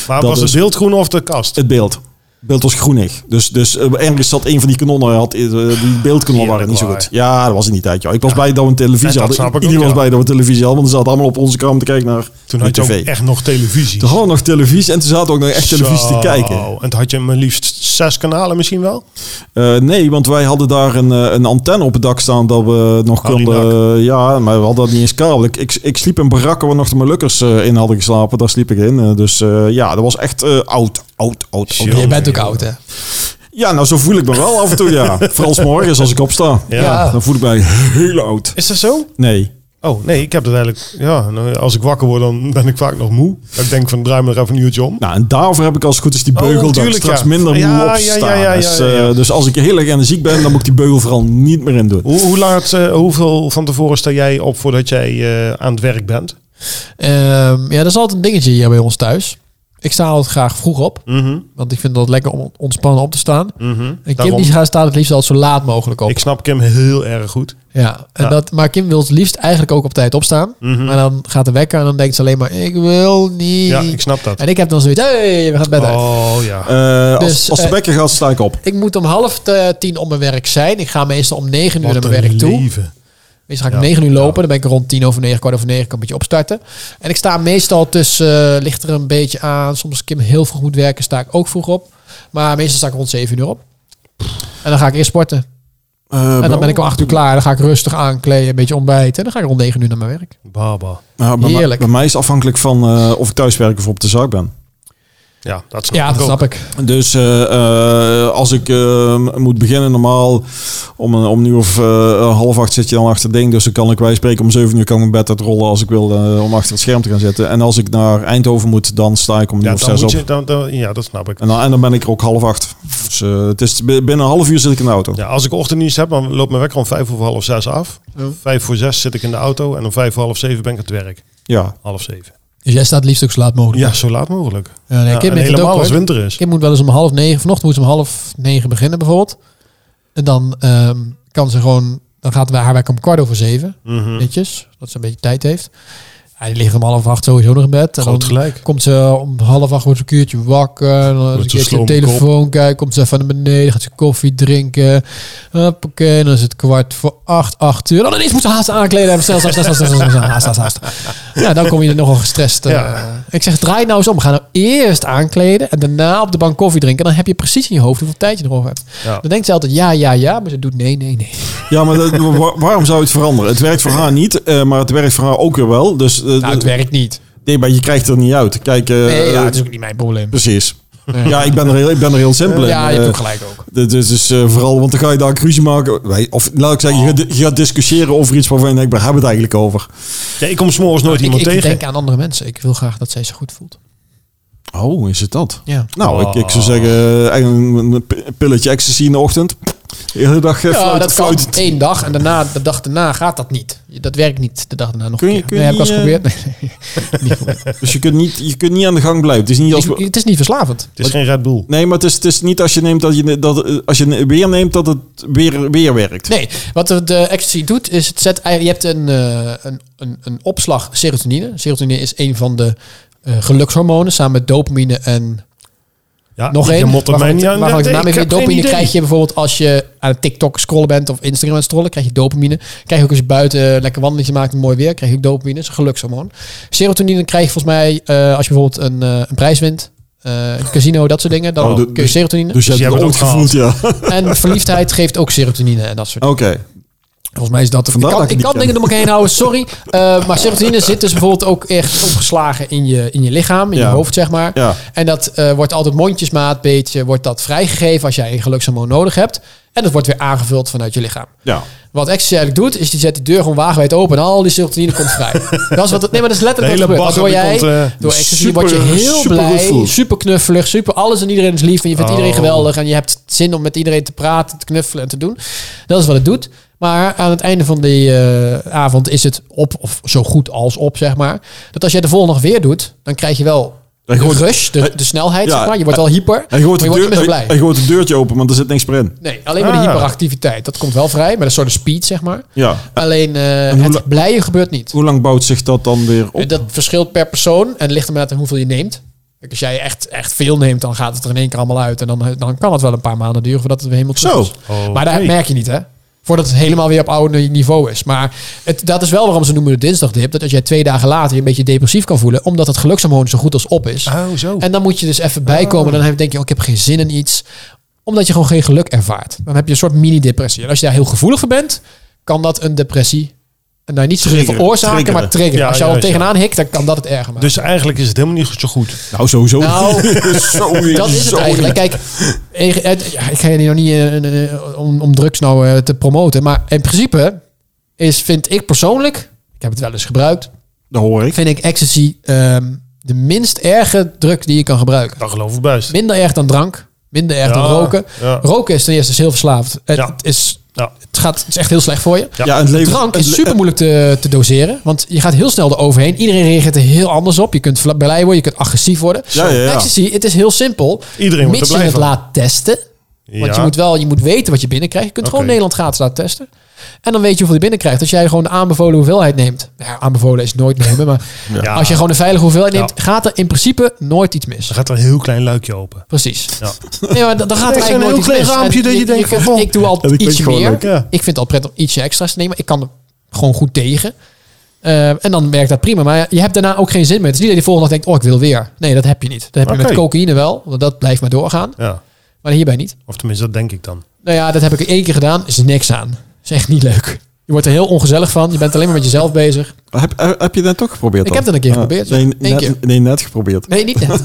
Maar Dat was is- het beeldgroen of de kast? Het beeld. beeld was groenig. Dus, dus eh, ergens zat een van die kanonnen, had, eh, die beeldkanonnen waren niet zo goed. Ja, dat was in die tijd. Joh. Ik was blij dat we een televisie Ja, dat hadden. snap ik ook, Iedereen was ja. blij dat we een televisie hadden, want ze zaten allemaal op onze kamer te kijken naar Toen de had je ook tv. echt nog televisie. Toen hadden we nog televisie en toen zaten we ook nog echt televisie Zo. te kijken. En toen had je maar liefst zes kanalen misschien wel. Eh, nee, want wij hadden daar een, eh, een antenne op het dak staan dat we nog Hou die konden... eh, ja, maar we hadden dat niet eens kabel. Ik, ik, ik sliep in barakken waar nog de Molukkers eh, in hadden geslapen. Daar sliep ik in. Eh, dus eh, ja, dat was echt eh, oud, oud, oud, oud. Zo. Je bent ook oud, hè? Ja, nou zo voel ik me wel af en toe, ja. Vooral 's morgens als ik opsta. Ja. Ja. Dan voel ik mij heel oud. Is dat zo? Nee. Oh nee, ik heb dat eigenlijk. Ja, nou, als ik wakker word, dan ben ik vaak nog moe. Dat Ik denk van draai me er even een uurtje om. Nou, en daarvoor heb ik als het goed is die Oh, beugel dat ik tuurlijk, straks ja. minder moe Ja, ja, opsta. ja, ja, ja, dus, ja, ja. eh, dus als ik heel erg energiek ben, dan moet ik die beugel vooral niet meer in doen. Hoe, hoe laat, eh, hoeveel van tevoren sta jij op voordat jij eh, aan het werk bent? Ehm, ja, dat is altijd een dingetje hier bij ons thuis. Ik sta altijd graag vroeg op, Mhm. want ik vind dat lekker om ontspannen op te staan. En Kim Daarom. die gaat staat het liefst altijd zo laat mogelijk op. Ik snap Kim heel erg goed. Ja, en Ja. Mhm. Dat, maar Kim wil het liefst eigenlijk ook op tijd opstaan. Maar dan gaat de wekker en dan denkt ze alleen maar, ik wil niet. Ja, ik snap dat. En ik heb dan zoiets, hey, we gaan het bed uit. Oh ja. Eh, als, Dus, als de eh, wekker gaat, sta ik op. Ik moet om half eh, tien op mijn werk zijn. Ik ga meestal om negen uur Wat naar een mijn werk toe. leven. Meestal ga Ja, ik om negen uur lopen. Dan ben ik rond tien over negen, kwart over negen, kan ik een beetje opstarten. En ik sta meestal tussen, eh, ligt er een beetje aan. Soms als Kim heel vroeg moet werken, sta ik ook vroeg op. Maar meestal sta ik rond zeven uur op. En dan ga ik eerst sporten. Eh, En dan ben ik wel- om acht uur klaar. Dan ga ik rustig aankleden, een beetje ontbijten. En dan ga ik rond negen uur naar mijn werk. Baba. Nou, bij, mij- Heerlijk. bij mij is afhankelijk van eh, of ik thuis werk of op de zaak ben. Ja, dat snap Ja, ik dat ook. snap ik. Dus eh, eh, als ik eh, moet beginnen normaal om, een- om nu of eh, half acht zit je dan achter het ding. Dus dan kan ik wij spreken om zeven uur kan ik mijn bed uitrollen als ik wil eh, om achter het scherm te gaan zitten. En als ik naar Eindhoven moet, dan sta ik om nu Ja, of dan zes op. moet je, dan, dan- ja, dat snap ik. En, dan, en dan ben ik er ook half acht. Dus eh, het is, binnen een half uur zit ik in de auto. Ja, als ik ochtenddienst heb, dan loopt mijn wekker om vijf over half zes af. Ja. Vijf voor zes zit ik in de auto en om vijf voor half zeven ben ik aan het werk. Ja. Half zeven. Dus jij staat het liefst ook zo laat mogelijk. Ja, zo laat mogelijk. Ja, nee, Ja, Kim en heeft het ook, helemaal als hoor. winter is. Kim moet wel eens om half negen, vanochtend moet ze om half negen beginnen bijvoorbeeld. En dan ehm, kan ze gewoon, dan gaat haar werk om kwart over zeven, Mhm. netjes, dat ze een beetje tijd heeft. Ja, die ligt om half acht sowieso nog in bed. En Groot dan gelijk. komt ze om half acht, wordt ze een kuurtje wakker. Dan zo'n een keertje slome op de telefoon kijken, komt ze even naar beneden, gaat ze koffie drinken. Hoppakee, dan is het kwart voor acht, acht uur. Oh, dan is moet ze haast aankleden. En snel, snel, snel, snel, snel, snel, snel, haast, haast, haast. Ja, dan kom je er nogal gestrest. eh. Ja. Ik zeg, draai nou eens om. Ga nou eerst aankleden en daarna op de bank koffie drinken. En dan heb je precies in je hoofd hoeveel tijd je erover hebt. Ja. Dan denkt ze altijd ja, ja, ja. Maar ze doet nee, nee, nee. ja, maar dat- wa- waarom zou het veranderen? Het werkt voor haar niet, eh, maar het werkt voor haar ook weer wel. Dus eh, Nou, het werkt niet. nee, maar je krijgt er niet uit. Kijk, eh, Nee, ja, eh, het is ook niet mijn probleem. precies. Nee. Ja, ik ben er heel, ik ben er heel simpel in. Ja, je hebt Eh, ook gelijk ook. Dus, dus, dus eh, vooral, want dan ga je daar ruzie maken. Wij- Of laat ik zeggen, je gaat- je gaat discussiëren over iets waarvan je denkt, waar hebben we het eigenlijk over? Ja, ik kom s'morgens nooit Ik, iemand ik tegen. denk aan andere mensen. Ik wil graag dat zij zich goed voelt. Oh, is het dat? Ja. Nou, ik, ik zou zeggen, eh, een een pi- pilletje ecstasy in de ochtend. De hele dag eh, Ja, fluiten, dat kan fluiten. één dag en daarna, de dag daarna gaat dat niet. Dat werkt niet de dag daarna nog Kun je- een keer. kun nee, heb ik je eh, al eens niet, geprobeerd. Nee, niet geprobeerd. Dus je kunt, niet, je kunt niet aan de gang blijven. Het is niet als... Ik- het is niet verslavend. Het is geen Red Bull. Nee, maar het is, het is niet als je, neemt dat je, dat, eh, als je weer neemt dat het weer, weer werkt. Nee, wat de- de ecstasy doet is het zet... Je hebt een, eh, een, een, een opslag serotonine. Serotonine is een van de eh, gelukshormonen samen met dopamine en Ja, nog je één. mot er mij waarvan niet ik- aan. waarvan ik denken. de naam even Ik heb weet. geen Dopamine idee. krijg je bijvoorbeeld als je aan TikTok scrollen bent of Instagram aan het scrollen, krijg je dopamine. Krijg je ook als je buiten eh, lekker wandeltje maakt, en mooi weer, krijg je ook dopamine. Dat is een gelukshormoon. Serotonine krijg je volgens mij eh, als je bijvoorbeeld een, eh, een prijs wint. eh, een casino, dat soort dingen. Dan Oh, de- kun je serotonine. Dus je Dus hebt jij het ooit hebt het gevoeld, ja. Oké. En verliefdheid geeft ook serotonine en dat soort dingen. Volgens mij is dat... Ik Vandaar kan, dat ik ik die kan ken. dingen door elkaar heen houden, sorry. Eh, maar serotonine zit dus bijvoorbeeld ook echt opgeslagen in je, in je lichaam, in Ja. je hoofd, zeg maar. Ja. En dat eh, wordt altijd mondjesmaat, beetje, wordt dat vrijgegeven als jij een gelukshormoon nodig hebt. En dat wordt weer aangevuld vanuit je lichaam. Ja. Wat ecstasy eigenlijk doet, is die zet die deur gewoon wagenwijd open en al die serotonine komt vrij. dat is wat het, nee, maar dat De is letterlijk hele wat er gebeurt. bagger Waardoor die jij, komt, eh, door ecstasy word je super- heel super goed blij, voelt. super knuffelig, super alles en iedereen is lief en je vindt Oh. iedereen geweldig en je hebt zin om met iedereen te praten, te knuffelen en te doen. Dat is wat het doet. Maar aan het einde van die eh, avond is het op, of zo goed als op, zeg maar. Dat als jij de volgende dag weer doet, dan krijg je wel En gewoon- de rush, de, de snelheid, Ja. zeg maar. Je wordt wel hyper, En je hoort, maar de je wordt deur, niet meer zo en blij. je hoort het deurtje open, maar er zit niks meer in. Nee, alleen maar Ah. de hyperactiviteit. Dat komt wel vrij, maar dat is een soort speed, zeg maar. Ja. Alleen eh, hoe la- het blijen gebeurt niet. Hoe lang bouwt zich dat dan weer op? Dat verschilt per persoon en ligt er maar aan hoeveel je neemt. Kijk, als jij echt, echt veel neemt, dan gaat het er in één keer allemaal uit. En dan, dan kan het wel een paar maanden duren voordat het weer helemaal terug Zo. is. Oh, Maar dat hey. merk je niet, hè? Voordat het helemaal weer op oude niveau is. Maar het, dat is wel waarom ze noemen de dinsdagdip. Dat als jij twee dagen later je een beetje depressief kan voelen. Omdat het gelukshormoon zo goed als op is. Oh, zo. En dan moet je dus even bijkomen. Dan heb- denk je, oh, ik heb geen zin in iets. Omdat je gewoon geen geluk ervaart. Dan heb je een soort mini-depressie. En als je daar heel gevoelig voor bent, kan dat een depressie. En daar niet zozeer Triggeren, veroorzaken, triggeren. maar triggeren. Ja, als je al juist, ja. tegenaan hikt, dan kan dat het erger maken. Dus eigenlijk is het helemaal niet zo goed. Nou, sowieso. Nou, Zo, Dus dat is het zo. eigenlijk. Kijk, eh, eh, ja, ik ga je nog niet eh, eh, eh, om, om drugs nou eh, te promoten. Maar in principe is, vind ik persoonlijk, ik heb het wel eens gebruikt, Dat hoor ik. vind ik ecstasy ehm, de minst erge drug die je kan gebruiken. Dat geloof ik best. Minder erg dan drank, minder erg dan Ja, roken. ja. Roken is ten eerste heel verslaafd. Het, Ja. is, Ja. het, gaat, het is echt heel slecht voor je. Ja, en het leven, Drank het is le- super moeilijk te, te doseren, want je gaat heel snel eroverheen. Iedereen reageert er heel anders op. Je kunt vla- blij worden, je kunt agressief worden. Ja, ja, ja. Ecstasy, het is heel simpel. Iedereen wordt Mits er je blij het van. laat testen, want Ja. je moet wel, je moet weten wat je binnenkrijgt. Je kunt gewoon Oké. Nederland gratis laten testen. En dan weet je hoeveel je binnenkrijgt. Als jij gewoon de aanbevolen hoeveelheid neemt. Ja, aanbevolen is nooit nemen. Maar Ja. als je gewoon de veilige hoeveelheid neemt, Ja. gaat er in principe nooit iets mis. Dan gaat er een heel klein luikje open. Precies. Ja. Nee, maar dan dan gaat er Echt zo'n eigenlijk nooit heel iets klein mis. raampje En dat je denkt kunt- van, bon. Ik doe Dat altijd vind ik ietsje gewoon meer. leuk, ja. Ik vind het al prettig om ietsje extra's te nemen. Ik kan er gewoon goed tegen. Eh, en dan werkt dat prima. Maar je hebt daarna ook geen zin meer. Het is niet dat je de volgende dag denkt, oh, ik wil weer. Nee, dat heb je niet. Dat heb je Oké. met cocaïne wel. Want dat blijft maar doorgaan. Ja. Maar hierbij niet. Of tenminste, dat denk ik dan. Nou ja, dat heb ik één keer gedaan. Is niks aan. Is echt niet leuk. Je wordt er heel ongezellig van. Je bent alleen maar met jezelf bezig. Heb, heb- heb je dat toch Ik geprobeerd dan? heb dat een keer Ah, geprobeerd, ja. Nee, Eén net, keer. nee, net geprobeerd. Nee, niet net.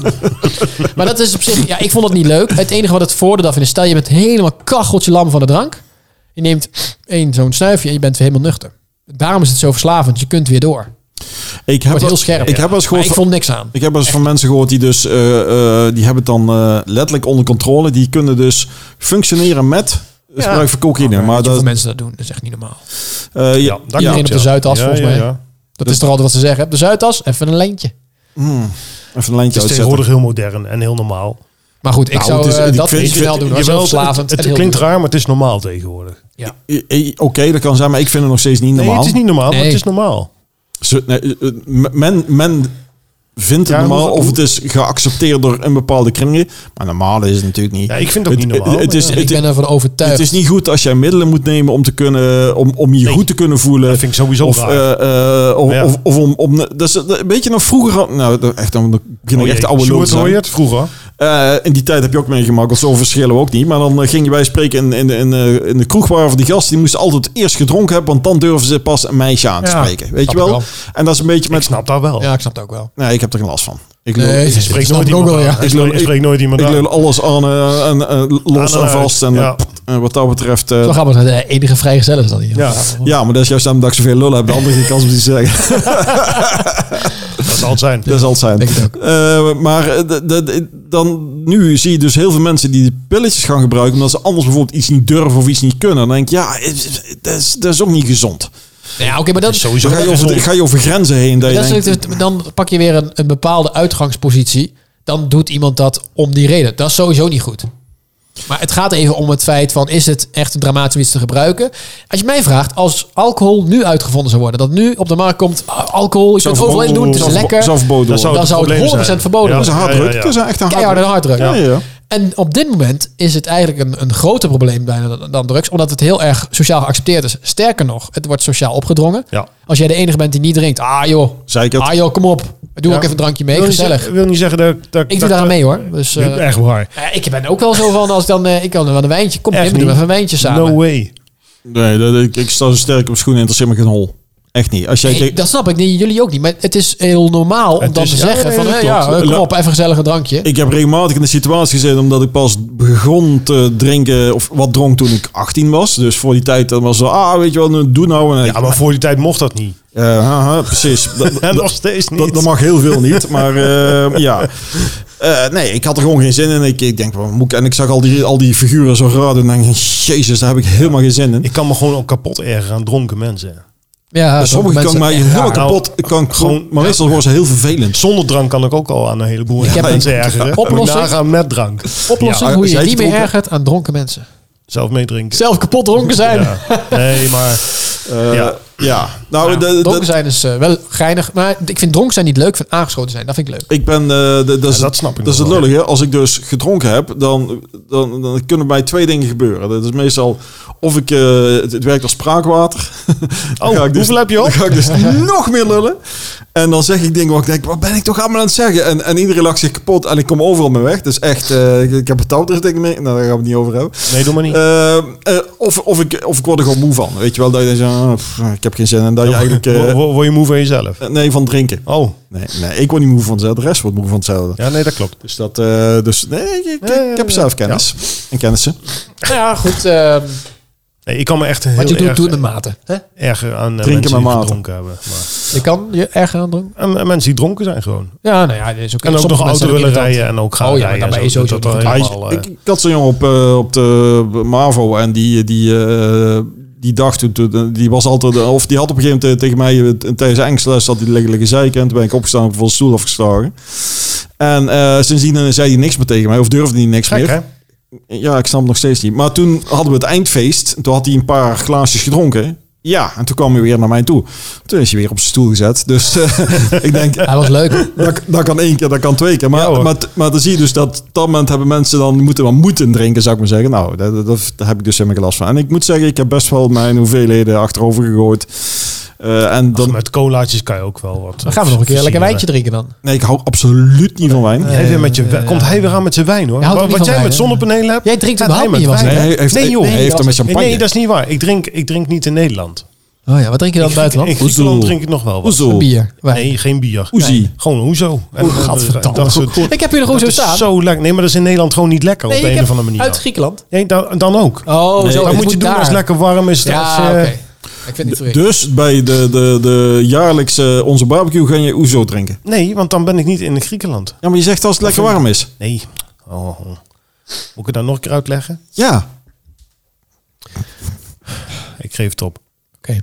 maar dat is op zich... Ja, ik vond het niet leuk. Het enige wat het voordeel daarvan is... Stel, je bent helemaal kacheltje lam van de drank. Je neemt één zo'n snuifje en je bent weer helemaal nuchter. Daarom is het zo verslavend. Je kunt weer door. Ik heb Wordt heel wel- scherp. Ik heb wel eens Maar gehoord ik van- vond niks aan. Ik heb wel eens van mensen gehoord die dus, eh, eh, die hebben het dan eh, letterlijk onder controle. Die kunnen dus functioneren met het gebruik van cocaïne. maar Weet je dat, hoeveel mensen dat doen? Dat is echt niet normaal. eh, ja, Ja, dat ja, iedereen op de Zuidas, volgens mij. Dat Dus- is toch altijd wat ze zeggen. hè? Op de Zuidas, even een lijntje. even een Het lijntje is uitzetten. tegenwoordig heel modern en heel normaal. Maar goed, ik Nou, zou het is- eh, ik dat vind- niet ik snel doen. vind- Dat is Jawel, heel verslavend. Het, en het heel klinkt duur. raar, maar het is normaal tegenwoordig. Eh, eh, Oké, dat kan zijn, maar ik vind het nog steeds niet Nee, normaal. het is niet normaal, maar Nee. het is normaal. Ze- nee, eh, eh, men, men vindt het Ja, normaal hoe- of het is geaccepteerd door een bepaalde kringen. Maar normaal is het natuurlijk niet. Ja, ik vind het ook niet normaal. Het, is, maar Ik het, ben ervan overtuigd. het is niet goed als jij middelen moet nemen om, te kunnen, om, om je Nee. goed te kunnen voelen. Dat vind ik sowieso Of, raar. eh, eh, of, Ja. of, of om, om dat is een beetje nog vroeger. al- Nou, dat- echt, dan begin ik Oh jee, echt de oude Sjoerd, lul te hoor je zijn. het vroeger? Eh, in die tijd heb je ook meegemaakt, want zo verschillen we ook niet. Maar dan eh, ging je bij spreken in, in, in, eh, in de kroeg waar van die gasten, die moesten altijd eerst gedronken hebben, want dan durven ze pas een meisje aan te Ja, spreken. Weet je snap wel? ik wel. En dat is een beetje Ik met... snap dat wel. Ja, ik snap het ook wel. Nee, ik heb er geen last van. Ik lul, Nee, ik, ze Ik spreekt spreek nooit ook iemand wel, aan. ja. Ik spreek- Ik spreek nooit iemand ik aan. lul alles aan eh, en, eh, los Aan en en uit. vast. En, Ja. eh, pff, en wat dat betreft... eh, Zo gaan we de enige vrijgezel is dan hier. Ja. ja, maar dat is juist aan dat ik zoveel lullen heb. De andere geen kans om die te zeggen. Dat zal het zijn. Dat zal het zijn. Denk het ook. Eh, maar eh, d- d- d- dan, nu zie je dus heel veel mensen die die pilletjes gaan gebruiken... omdat ze anders bijvoorbeeld iets niet durven of iets niet kunnen. Dan denk je, ja, eh, eh, dat is, dat is ook niet gezond. Ja, oké, maar dat, Sowieso. Dan ga je over, de- ga je over grenzen heen. Dat je dat is denkt, natuurlijk- dus dan pak je weer een, een bepaalde uitgangspositie. Dan doet iemand dat om die reden. Dat is sowieso niet goed. Maar het gaat even om het feit van... is het echt dramatisch om iets te gebruiken? Als je mij vraagt, als alcohol nu uitgevonden zou worden... dat nu op de markt komt ah, alcohol, je kunt het overal in doen, het is zou- lekker... Zou verboden Dat worden. zou dan het zou het probleem 100% zijn. verboden Dat is worden. een hard Ja, ja, druk. ja. Dat is echt een hard Keiharde druk. harddruk. Ja, ja. En op dit moment is het eigenlijk een, een groter probleem bijna dan, dan drugs... omdat het heel erg sociaal geaccepteerd is. Sterker nog, het wordt sociaal opgedrongen. Ja. Als jij de enige bent die niet drinkt... ah joh, Zei ik het? ah joh kom op. Doe Ja. ook even een drankje mee, wil niet gezellig. zeggen- wil niet zeggen dat... dat Ik doe dat- daar aan mee hoor. Dus, eh, Echt waar. eh, ik ben ook wel zo van als ik dan eh, ik kan wel een wijntje. Kom, Echt Jim, we doen niet. even een wijntje samen. No way. Nee, dat, ik, ik sta zo sterk op schoenen. Interesseert me geen hol. Echt niet. Als jij... Nee, kijkt- dat snap ik. Nee, jullie ook niet. Maar het is heel normaal om Het dan is- te ja, zeggen nee, van dat eh, klopt. ja, eh, kom op, even gezellig een drankje. Ik heb regelmatig in de situatie gezeten omdat ik pas begon te drinken of wat dronk toen ik 18 was. Dus voor die tijd dan was het ah weet je wel, nou, doe nou. En, Ja, maar voor die tijd mocht dat niet. eh, haha, precies. Dat, En dat, nog steeds niet. dat- dat mag heel veel niet, maar eh, ja. Eh, nee, ik had er gewoon geen zin in. Ik, ik denk, wat moet ik? En ik zag al die, al die figuren zo raar en denk ik, jezus, daar heb ik helemaal geen zin in. Ik kan me gewoon ook kapot ergeren aan dronken mensen. ja, Bij Sommigen kan ik mij helemaal nou, raar. kapot. Ik kan gewoon, gewoon- maar meestal worden ze heel vervelend. Zonder drank kan ik ook al aan een heleboel Ik heb mensen een ergeren. oplossing. Moet ik nagaan met drank. Oplossing Ja, hoe je zij je niet meer dronken- ergert aan dronken mensen. Zelf meedrinken. Zelf kapot dronken zijn. Ja. Nee, maar Eh, ja. Ja. Nou, Ja, de- de- dronken zijn is eh, wel geinig. Maar ik vind dronken zijn niet leuk. Ik vind aangeschoten zijn, dat vind ik leuk. Ik ben, eh, de- dat, is, Ja, dat snap ik Dat is nog het wel. lullige. Als ik dus gedronken heb, dan, dan, dan kunnen mij twee dingen gebeuren. Dat is meestal of ik, eh, het, het werkt als spraakwater. Dan Oh, ga ik dus- hoeveel heb je op? Dan ga ik dus nog meer lullen. En dan zeg ik dingen waar ik denk, wat ben ik toch allemaal aan het zeggen? En, en iedereen lacht zich kapot en ik kom overal mee weg. Dus echt, eh, ik, ik heb een touwtrechtding mee. Nou, daar gaan we het niet over hebben. Nee, doe maar niet. Eh, eh, of, of, ik, of ik word er gewoon moe van. Weet je wel, dat je denkt, ah, pff, ik heb geen zin. En dat je eigenlijk... eh, Wor- wor- Word je moe van jezelf? nee, van drinken. Oh, Nee, nee, ik word niet moe van hetzelfde. De rest wordt moe van hetzelfde. ja, nee, dat klopt. Dus dat, eh, dus nee, ik, ik, Eh, ik heb zelf kennis en kennissen. Nou ja, goed. ehm, Nee, ik kan me echt wat je heel doet, erg, doe het met mate. Hè? erger aan eh, Drinken mensen met die mate. gedronken hebben. Maar, Je kan je erg aan drinken. en, en mensen die dronken zijn gewoon. Ja, nou ja, dat is ook En ook nog sommige mensen auto zijn ook willen irritant. rijden en ook gaan Oh ja, maar rijden. dan ben en je zo. sowieso Dat niet dan Ja, goed. helemaal, eh, ik, ik had zo'n jongen op, eh, op de MAVO en die, die, eh, die dacht toen, toen- die was altijd, of die had op een gegeven moment tegen mij, eh, tijdens de Engelsles zat hij liggen liggen zeiken en toen ben ik opgestaan en van de stoel afgeslagen. En eh, sindsdien eh, zei hij niks meer tegen mij, of durfde hij niks gek, meer. hè? Ja, ik snap het nog steeds niet. Maar toen hadden we het eindfeest. En Toen had hij een paar glaasjes gedronken. Ja, en toen kwam hij weer naar mij toe. Toen is hij weer op zijn stoel gezet. Dus eh, ik denk, Hij was leuk. dat, dat kan één keer, dat kan twee keer. Maar, Ja, hoor. maar, maar dan zie je dus dat op dat moment hebben mensen dan die moeten, wel moeten drinken, zou ik maar zeggen. Nou, dat, dat, daar heb ik dus helemaal geen last van. En ik moet zeggen, ik heb best wel mijn hoeveelheden achterover gegooid. Eh, en dan, Ach, met colaatjes kan je ook wel wat. Dan gaan we nog een keer lekker wijntje drinken dan. nee, ik hou absoluut niet van wijn. Jij Eh, weer met je, wijn- komt hij weer aan met zijn wijn hoor. Jij houdt Wat, er niet wat van jij wijn, met hè? zonnepanelen hebt. Jij drinkt gaat überhaupt hij met niet wat wijn. Nee, hij heeft, Nee, joh. hij heeft hem met Nee, champagne. nee, dat is niet waar. Ik drink, ik drink niet in Nederland. Oh ja, wat drink je dan in het In buitenland? Griekenland Hoezo? drink ik nog wel wat. Hoezo? Bier. Wijn. Nee, geen bier. Oezie. Nee. Gewoon hoezo. En dat- gadverdamme. dat soort- Oh, Ik heb hier nog hoezo dat is staan. zo lekker. Nee, maar dat is in Nederland gewoon niet lekker op de ik een heb of andere manier. Uit Griekenland. Nee, dan, dan ook. Oh, Nee, zo. dan Dan het moet je doen daar. als het lekker warm is. Ja, als, eh, oké. Ik vind het niet zo gek. Dus bij de, de, de jaarlijkse onze barbecue ga je ouzo drinken. Nee, want dan ben ik niet in Griekenland. Ja, maar je zegt als het lekker warm is. Nee. Oh. Moet ik het dan nog een keer uitleggen? Ja. Ik geef het op. Oké.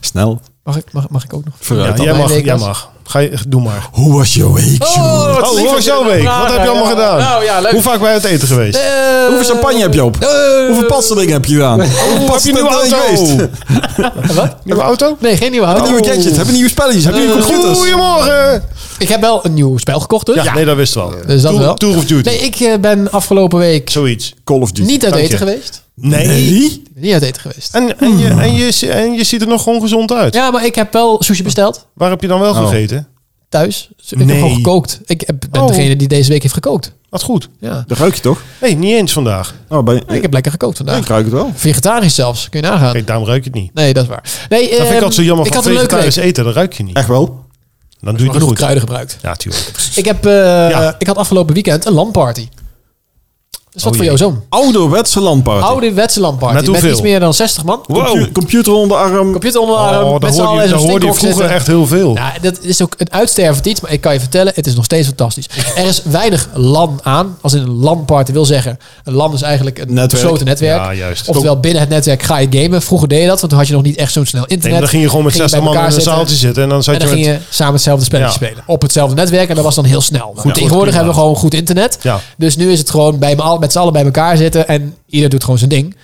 Snel. Mag ik, mag, mag ik ook nog? Ja, Vooruit dan. jij Mijn mag, week jij was- mag. Ga je, doe maar. Hoe was je week? wat Oh, lief hoe dat was je jouw dat week? vraagt. Wat heb je allemaal Ja. gedaan? Nou ja, leuk. Hoe vaak ben je uit eten geweest? Eh, Hoeveel champagne heb je op? eh, Hoeveel patselen heb je gedaan? Hoeveel Heb je een patselen nieuwe ben je auto? geweest? Wat? Nieuwe auto? Nee, geen nieuwe Heb je auto. nieuwe gadgets? Heb je nieuwe spelletjes? Heb je nieuwe computers? Goedemorgen! Ik heb wel een nieuw spel gekocht dus. Ja, nee, dat wist wel. Dus dat Tour, wel. Tour of Duty. Nee, ik eh, ben afgelopen week Zoiets. Call of Duty. niet uit Dank eten je. Eh, geweest. Nee. Nee? Oh. Ik ben Niet uit eten geweest. En, en, je, en, je, en je ziet er nog ongezond uit. Ja, maar ik heb wel sushi besteld. Waar heb je dan wel Oh. gegeten? Thuis. Dus ik Nee. heb gewoon gekookt. Ik heb, ben Oh. degene die deze week heeft gekookt. Wat goed. Ja. Dat ruik je toch? Nee, niet eens vandaag. Oh, ben je- Ik heb lekker gekookt vandaag. Ik ruik het wel. Vegetarisch zelfs. Kun je nagaan. Kijk, daarom ruik je het niet. Nee, dat is waar. Nee, Dat Nou, vind ik ehm, altijd zo jammer Ik van had een leuke week. vegetarisch eten. Dat ruik je niet. Echt wel? Dan doe je het Genoeg niet goed. kruiden gebruikt. Ja, tuurlijk. Ik, heb, eh, Ja. ik had afgelopen weekend een lamparty. Dat is wat Oh voor jee. jouw zoon. Ouderwetse landparty. Ouderwetse lamparty. Met hoeveel? iets meer dan 60 man. Compu- Computer onder de arm. Computer onder de arm, Oh, daar met z'n hoorde allen je, in daar zo'n hoorde je stinkhok vroeger zitten. echt heel veel. Nou, dat is ook een uitstervend iets, maar ik kan je vertellen, het is nog steeds fantastisch. Er is weinig LAN aan, als in een LAN-party wil zeggen. Een LAN is eigenlijk een Netwerk. gesloten netwerk. Ja, juist. Oftewel, binnen het netwerk ga je gamen. Vroeger deed je dat, want toen had je nog niet echt zo snel Nee, internet. maar dan ging je gewoon met Ging je 60 bij man in een elkaar zitten. zaaltje zitten. En dan zat En dan je ging met... je samen hetzelfde spelletje Ja. spelen. Op hetzelfde netwerk. En dat was dan heel snel. Goed, tegenwoordig goed, hebben we gewoon goed internet. Ja. Dus nu is het gewoon bij me al, met z'n allen bij elkaar zitten. En ieder doet gewoon zijn ding.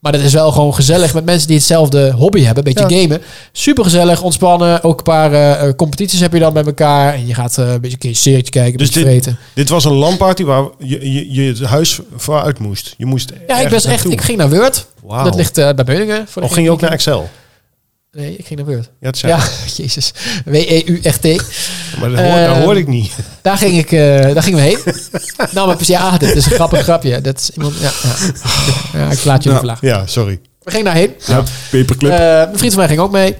Maar dat is wel gewoon gezellig met mensen die hetzelfde hobby hebben. Een beetje gamen. Super gezellig, ontspannen. Ook een paar eh, eh, competities heb je dan bij elkaar. En je gaat eh, een beetje een keer een serietje kijken, een Dus beetje dit, vreten. dit was een lamparty waar je, je, je het huis vooruit moest. Je moest Ja, ik, was echt, ik ging naar Word. Wauw. Dat ligt eh, bij Beuningen. Voor Of degene ging je ook die- naar Excel? Nee, ik ging naar Word. Ja, dat zei Ja, jezus. E W-E-U-R-T. Maar dat hoor, dat Eh, hoorde ik niet. Daar, ging ik, eh, daar gingen we heen. nou, maar precies, ja, dit is een grappig grapje. Dat is iemand, ja, ja. ja, ik laat jullie Nou. Ja. verlagen. Ja, sorry. We gingen daarheen. Ja, paperclip. Eh, een vriend van mij ging ook mee.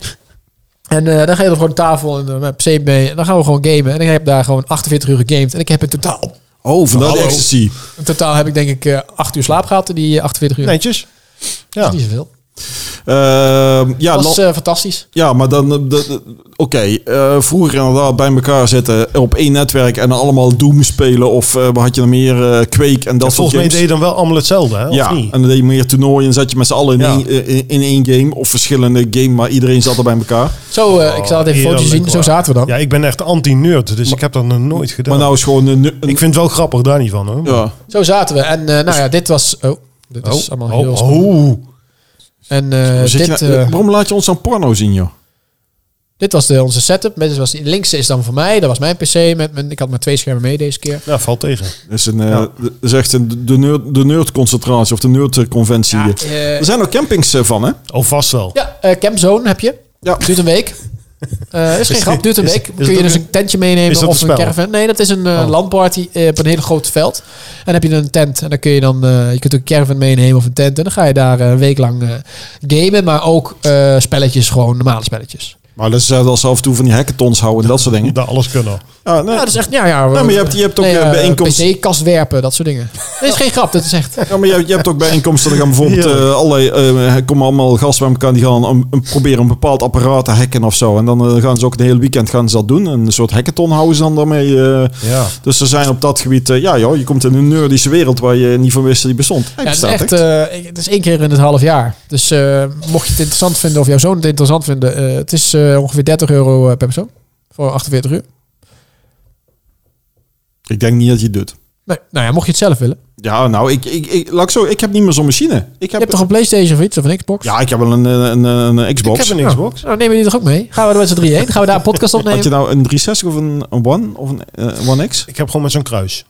En eh, dan ga je er gewoon tafel en eh, mijn PC mee. En dan gaan we gewoon gamen. En ik heb daar gewoon 48 uur gegamed. En ik heb in totaal, Oh, vandaar de Hallo. ecstasy. in totaal heb ik denk ik eh 8 uur slaap gehad in die 48 uur. Netjes. Ja. Dat is niet zoveel. Ehm, ja, Dat la- was eh, fantastisch. Ja, maar dan... eh, de- de- Oké, eh, vroeger inderdaad bij elkaar zitten op één netwerk en dan allemaal Doom spelen of eh, wat had je nog meer? eh Quake en dat soort Volgens mij games. deed je dan wel allemaal hetzelfde, hè? Ja, Of niet? en dan deed je meer toernooien en zat je met z'n allen in, Ja. één, eh, in, in één game. Of verschillende game, maar iedereen zat er bij elkaar. Zo, eh, ik zal het even Oh, foto's zien. heerlijk, Zo hoor. zaten we dan. Ja, ik ben echt anti-nerd, dus ik heb dat nog nooit gedaan. Maar nou is gewoon een... een ik vind het wel grappig daar niet van, hoor. ja. Zo zaten we. En eh, nou ja, dit was... Oh, dit Dus- Oh, is allemaal heel... oh, oh. En eh, Zit je dit... nou- eh, waarom laat je ons dan porno zien, joh? Dit was de, onze setup. Met, dus was die linkse is dan voor mij. Dat was mijn PC. Met mijn, ik had maar twee schermen mee deze keer. Ja, valt tegen. Dat is, een, eh, dat is echt een, de, nerd, de nerdconcentratie of de nerdconventie. Ja, hier. eh, er zijn ook campings eh, van, hè? Oh, vast wel. Ja, eh, Campzone heb je. Ja. Duurt een week. Eh is geen grap, duurt een is- week. is Kun het je ook dus een- een tentje meenemen is dat of een een spel? caravan? Nee, dat is een eh, Oh. landparty eh, op een hele groot veld. En dan heb je dan een tent. En dan kun je dan, eh, je kunt ook een caravan meenemen of een tent. En dan ga je daar eh, een week lang eh, gamen. Maar ook eh, spelletjes, gewoon normale spelletjes. Maar dat ze wel zelf en toe van die hackathons houden en dat soort dingen. Dat alles kunnen. Ja, nee. Ja, dat is echt, ja, ja. maar je hebt- je hebt ook, eh, bijeenkomsten. PC-kast werpen, dat soort dingen. Dat is geen grap, dat is echt. Ja, maar je, je hebt ook bijeenkomsten. Er gaan bijvoorbeeld Ja. eh, allerlei, eh, komen allemaal gasten bij elkaar. Die gaan een- een- proberen een bepaald apparaat te hacken of zo. En dan eh, gaan ze ook het hele weekend gaan ze dat doen. Een soort hackathon houden ze dan daarmee. eh. Ja. Dus er zijn op dat gebied... eh, ja, joh, je komt in een nerdische wereld waar je niet van wist dat die bestond. Hij Ja, het, is bestaat echt, eh, ik- het is één keer in het half jaar. Dus eh, mocht je het interessant vinden of jouw zoon het interessant vinden, eh, het is eh, ongeveer 30 euro eh, per persoon. Voor 48 uur. Ik denk niet dat je het doet. Nee, nou ja, mocht je het zelf willen. Ja, nou, ik, ik, ik, laat ik zo, ik heb niet meer zo'n machine. Ik Je heb, hebt toch een Playstation of iets of een Xbox? ja, ik heb wel een, eh, een, een, een Xbox. Ik heb een Xbox. Nou, nemen jullie toch ook mee? Gaan we er met z'n drieën heen? Gaan we daar een podcast Had je opnemen? nou een 360 of een, een One of een eh, One X? Oh, Ik heb gewoon met zo'n kruis.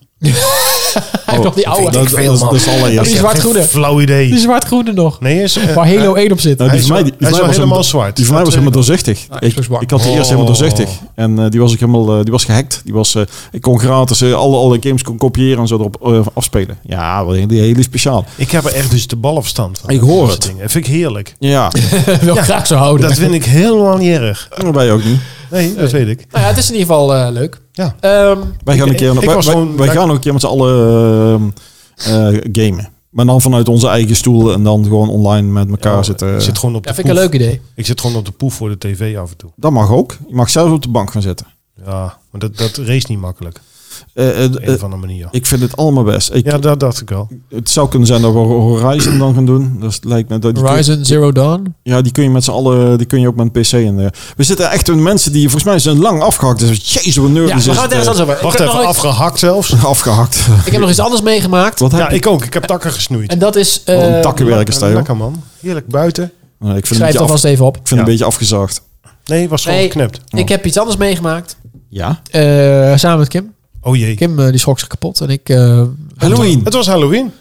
Hij heeft nog die oude. dat, dat, dat is Die allereerst. zwart-groene. Geen Flauw idee. Die zwart-groene nog. Nee, is... eh, Waar Halo 1 op zit. Nou, Hij die is van mij, wel- hij die, die is van mij wel was helemaal helemaal zwart. Die van mij Dat was weet helemaal ik nog. doorzichtig. Ah, ik, Xbox One. ik had die eerst Oh. helemaal doorzichtig. En eh, die was ik helemaal, eh, die was gehackt. Die was, eh, ik kon gratis eh, alle, alle games kon kopiëren en zo erop eh, afspelen. Ja, wel een- die hele speciaal. Ik heb er echt dus de balafstand van. Ik hoor Dat het. soort dingen. Dat vind ik heerlijk. Ja, Wil ik graag zo houden. Dat vind ik helemaal niet erg. wij ook niet. Nee, dat weet ik. Nou ja, het is in ieder geval eh, leuk. Ja. Ehm, Wij gaan Ik- een keer, ik wij, was wij- gewoon- wij gaan ook een keer met z'n allen eh, eh, gamen. Maar dan vanuit onze eigen stoel en dan gewoon online met elkaar Ja, zitten. ik zit gewoon op ja, de vind ik een poef. leuk idee. Ik zit gewoon op de poef voor de tv af en toe. Dat mag ook. Je mag zelf op de bank gaan zitten. Ja, maar dat, dat race niet makkelijk. Op Eh, eh, een eh, of andere manier. ik vind het allemaal best. Ik, Ja, dat dacht ik wel. Het zou kunnen zijn dat we Horizon dan gaan doen. Dat lijkt me dat die kun- Horizon Zero Dawn. Ja, die kun je met z'n allen, die kun je ook met een PC. En, eh, we zitten echt met mensen die volgens mij zijn lang afgehakt. Dus jezus, wat nerdy Ja, is we gaan het ergens het, eh, anders over. Ik Wacht heb nog even, iets- afgehakt zelfs. afgehakt. Ik heb nog iets anders meegemaakt. Wat Ja, heb ik? ik ook. Ik heb takken gesnoeid. En dat is... Wat een eh, takkenwerk is dat, joh. Lekker man. Heerlijk buiten. Nee, ik Ik vind, het schrijf een, het beetje af, alvast even op. ik vind het een Ja. beetje afgezaagd. Nee, was gewoon Nee. geknipt. Oh. Ik heb iets anders meegemaakt. Ja? eh, samen met Kim. Oh jee. Kim eh, die schrok zich kapot. En ik... eh, Halloween. Het was Halloween.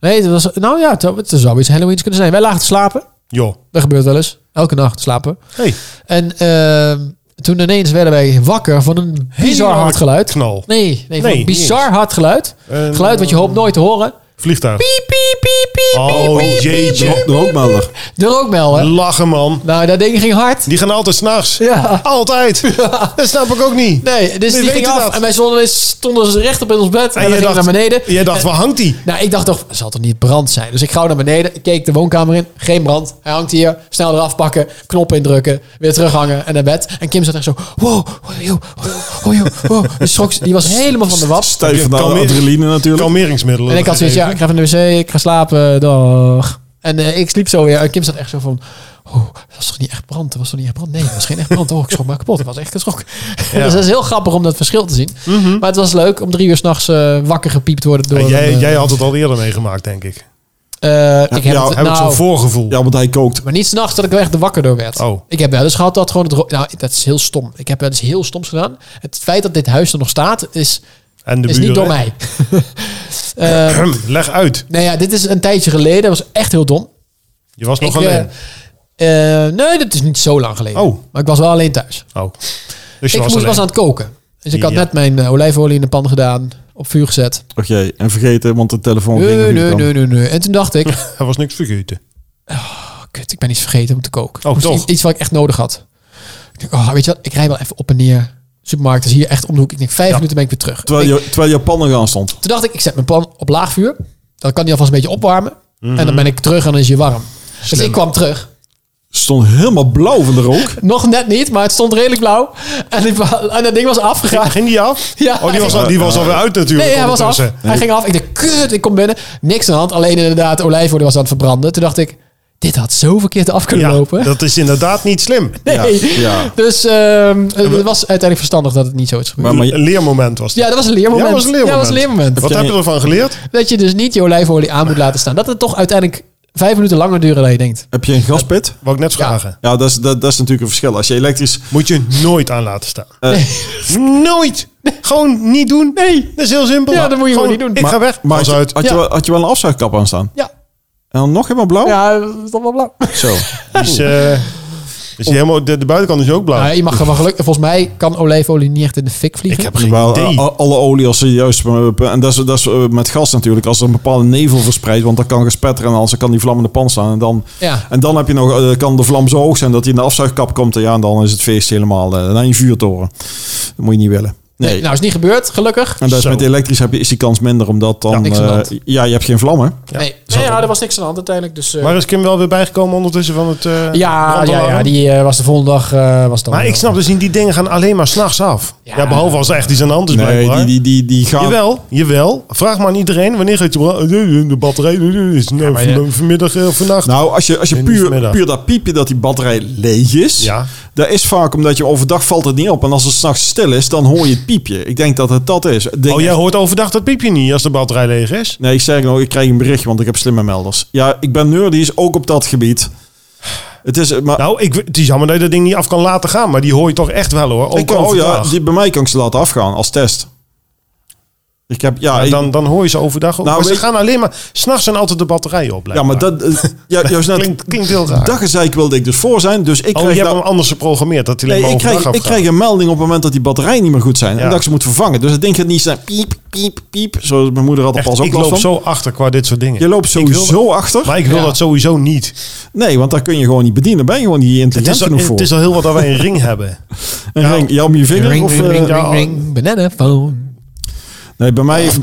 nee, het was, nou ja, het, het zou iets Halloweens kunnen zijn. Wij lagen te slapen. Joh. Dat gebeurt wel eens. Elke nacht slapen. Hey, En eh, toen ineens werden wij wakker van een bizar Heel hard geluid. knal. Nee, nee, van Nee, een bizar hard geluid. Een Geluid wat je hoopt nooit te horen. Vliegtuig. Piep, piep, piep, piep. Oh jeetje. De rookmelder. De rookmel, hè? Lachen man. Nou, dat ding ging hard. Die gaan altijd s'nachts. Ja. Altijd. Dat snap ik ook niet. Nee, dus Nee, die weet ging je af. dat? En wij stonden, ineens- stonden ze recht op in ons bed. En, dan jij gingen we naar beneden. Jij dacht, waar hangt die? Nou, ik dacht toch, zal toch niet brand zijn? Dus ik gauw naar beneden, ik keek de woonkamer in. Geen brand. Hij hangt hier. Snel eraf pakken, knop indrukken, weer terughangen en naar bed. En Kim zat echt zo, wow, oh joh, oh joh, oh joh, wow. Die, schrok, die was helemaal van de wap. Stijf van de Kalmeer- adrenaline natuurlijk. Kalmeringsmiddelen. En ik had zoiets, ja, ik ga even naar de wc, ik ga slapen, dag. En eh, ik sliep zo weer. En Kim zat echt zo van, oh, dat was toch niet echt brand? Dat was toch niet echt brand? Nee, dat was geen echt brand. Oh, ik schrok maar kapot. Ik was echt geschrokken. dus dat is heel grappig om dat verschil te zien. Maar het was leuk om drie uur s'nachts eh wakker gepiept te worden door... Mhm. En jij, een, eh, jij had het al eerder meegemaakt, denk ik. eh, ik heb Ja, het, Heb ik nou, zo'n voorgevoel. Ja, want hij kookt. Maar niet s'nachts dat ik er echt wakker door werd. Oh. Ik heb wel eens gehad dat gewoon... Het ro- nou, dat is heel stom. Ik heb wel eens heel stoms gedaan. Het feit dat dit huis er nog staat, is, En de is niet buren, door hè? mij. Eh Leg uit. nee, ja, dit is een tijdje geleden. Dat was echt heel dom. Je was nog Ik, alleen. eh, eh, nee, dat is niet zo lang geleden. Oh. Maar ik was wel alleen thuis. oh. Dus je was ik moest, alleen. was aan het koken. Dus ik had Ja. net mijn eh, olijfolie in de pan gedaan. Op vuur gezet. Oké, en vergeten, want de telefoon ging Nee, natuurlijk nee, dan. nee, nee, nee. En toen dacht ik... oh, Er was niks vergeten. kut, ik ben iets vergeten om te koken. Oh, Ik moest toch? Iets, iets wat ik echt nodig had. Ik denk, oh, weet je wat? Ik rij wel even op en neer. Supermarkt is hier echt om de hoek. Ik denk, vijf minuten ben ik weer terug. Terwijl, Ik- je, terwijl je pannen gaan stond. Toen dacht ik, ik zet mijn pan op laag vuur. Dan kan die alvast een beetje opwarmen. En dan ben ik terug en dan is je warm. Dus ik kwam terug. Stond helemaal blauw van de rook. Nog net niet, maar het stond redelijk blauw. En, ik, wa- en dat ding was afgegaan. Ging die af? Ja, oh, die was, al, die was alweer uit natuurlijk. Nee, hij was af. ondertussen. Hij ging af. Ik dacht, kut, ik kom binnen. Niks aan de hand. Alleen inderdaad, olijfolie was aan het verbranden. Toen dacht ik, dit had zo verkeerd af kunnen Ja, lopen. dat is inderdaad niet slim. Nee. Ja, ja. Dus ehm, het was uiteindelijk verstandig dat het niet zo is gebeurd. Maar, maar Een leermoment was dat. Ja, dat was een leermoment. Ja, dat was een Ja, dat was een leermoment. leermoment. Wat heb je ervan geleerd? Dat je dus niet je olijfolie aan moet laten staan. Dat het toch uiteindelijk vijf minuten langer duren dan je denkt. Heb je een gaspit? Wou ik net Ja. vragen. Ja, dat is, dat, dat is natuurlijk een verschil. Als je elektrisch... Moet je nooit aan laten staan. eh, Nooit! Gewoon niet doen. Nee. Dat is heel simpel. Ja, dat moet je Gewoon, gewoon niet doen. Ik ga weg. Maar Maar had je, uit. Had, je Ja. wel, had je wel een afzuigkap aan staan? Ja, En dan nog helemaal blauw? ja dat is toch wel blauw. Zo. Dus, eh, dus die helemaal, de, de buitenkant is ook blauw. Nou ja, je mag gewoon gelukkig. Volgens mij kan olijfolie niet echt in de fik vliegen. Oh. ik heb geen Wel, idee. eh, al- alle olie als ze juist... En dat is, dat is eh, met gas natuurlijk. Als er een bepaalde nevel verspreidt, want dan kan gespetteren. En anders kan die vlam in de pan staan. En dan, Ja. en dan heb je nog, eh, kan de vlam zo hoog zijn dat hij in de afzuigkap komt. En ja, en dan is het feest helemaal. eh, dan een vuurtoren. Dat moet je niet willen. Nee. Nee. nou is niet gebeurd, gelukkig. En dat is Zo. met elektrisch heb je, is die kans minder, omdat dan... Ja, Ja, niks aan de hand. ja je hebt geen vlammen. Nee, nee ja, er was niks aan de hand uiteindelijk. Dus, eh, maar is Kim wel weer bijgekomen ondertussen van het... eh, ja, ja, brandalarm? ja, die eh, was de volgende dag... eh, was dan Oh, Maar ik snap dus niet, die dingen gaan alleen maar s'nachts af. Ja. Ja. behalve als er echt iets aan de hand is Nee, blijkbaar. die, die, die, die gaan... Jawel, jawel. Vraag maar aan iedereen, wanneer gaat je brand- de batterij is nou, maar je- van- vanmiddag eh, of vannacht. Nou, als je, als je In de puur, vanmiddag. puur dat piepje dat die batterij leeg is... Ja. Dat is vaak omdat je overdag valt het niet op. En als het s'nachts stil is, dan hoor je het piepje. Ik denk dat het dat is. Ik denk oh, jij hoort overdag dat piepje niet als de batterij leeg is. Nee, ik zeg nog, ik krijg een berichtje, want ik heb slimme melders. Ja, ik ben nerdies, ook op dat gebied. Het is... Maar, Nou, ik, het is jammer dat je dat ding niet af kan laten gaan, maar die hoor je toch echt wel hoor. Ook ik kan, oh ja, overdag. die, bij mij kan ik ze laten afgaan als test. Ik heb... Ja, Ja, ik- dan, dan hoor je ze overdag ook. Nou, maar ze weet- gaan alleen maar... S'nachts zijn altijd de batterijen op. ja maar dat... eh, Ja, juist net, klinkt, klinkt heel raar. Daggezeik wilde ik dus voor zijn, dus ik oh, je krijg hebt nou- hem anders geprogrammeerd. Dat hij alleen Nee, maar ik overdag krijg, ik afgaat. krijg een melding op het moment dat die batterijen niet meer goed zijn. Ja. En dat ik ze moet vervangen. Dus dat ding gaat niet zijn piep, piep, piep. Zoals mijn moeder had er Echt, pas ook ik last loop van. zo achter qua dit soort dingen. Je loopt sowieso achter. Maar ik wil Ja. dat sowieso niet. Nee, want daar kun je gewoon niet bedienen. Daar ben je gewoon niet Het intelligent is, al, genoeg voor. het is al heel wat dat wij een ring hebben. Een ring, ja, om je vinger Ring, of... ring, ring, eh, ring, ring, banana phone. Nee, bij mij... Ik,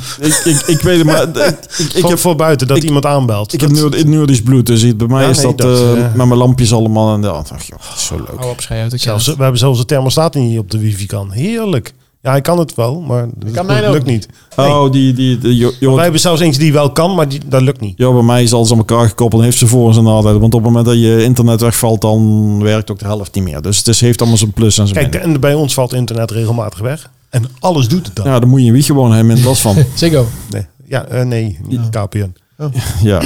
ik, ik weet het maar... Ik, ik voor, heb, voor buiten, dat ik- iemand aanbelt. ik Dat- heb Noord- Noordisch bloed, dus bij mij Ja, Oh, is nee, dat, dat, eh, eh, met mijn lampjes allemaal en dat. Ach, joh, dat is zo leuk. Hou op, schei uit. Ik zelfs, we hebben zelfs de thermostaat niet op de wifi kan. Heerlijk. Ja, hij kan het wel, maar dat kan lukt, mij ook lukt niet. Nee. Oh, die... die, die joh, joh, Wij hebben zelfs eentje die wel kan, maar die, dat lukt niet. Ja, bij mij is alles aan elkaar gekoppeld. en Heeft ze voor- en zijn nadelen. Want op het moment dat je internet wegvalt, dan werkt ook de helft niet meer. Dus het is, heeft allemaal zijn plus en zijn Kijk, min. en bij ons valt internet regelmatig weg. En alles doet het dan. Ja, dan moet je een wieg gewoon hebben in last van. Ziggo. Nee, ja, eh, nee niet KPN. ja.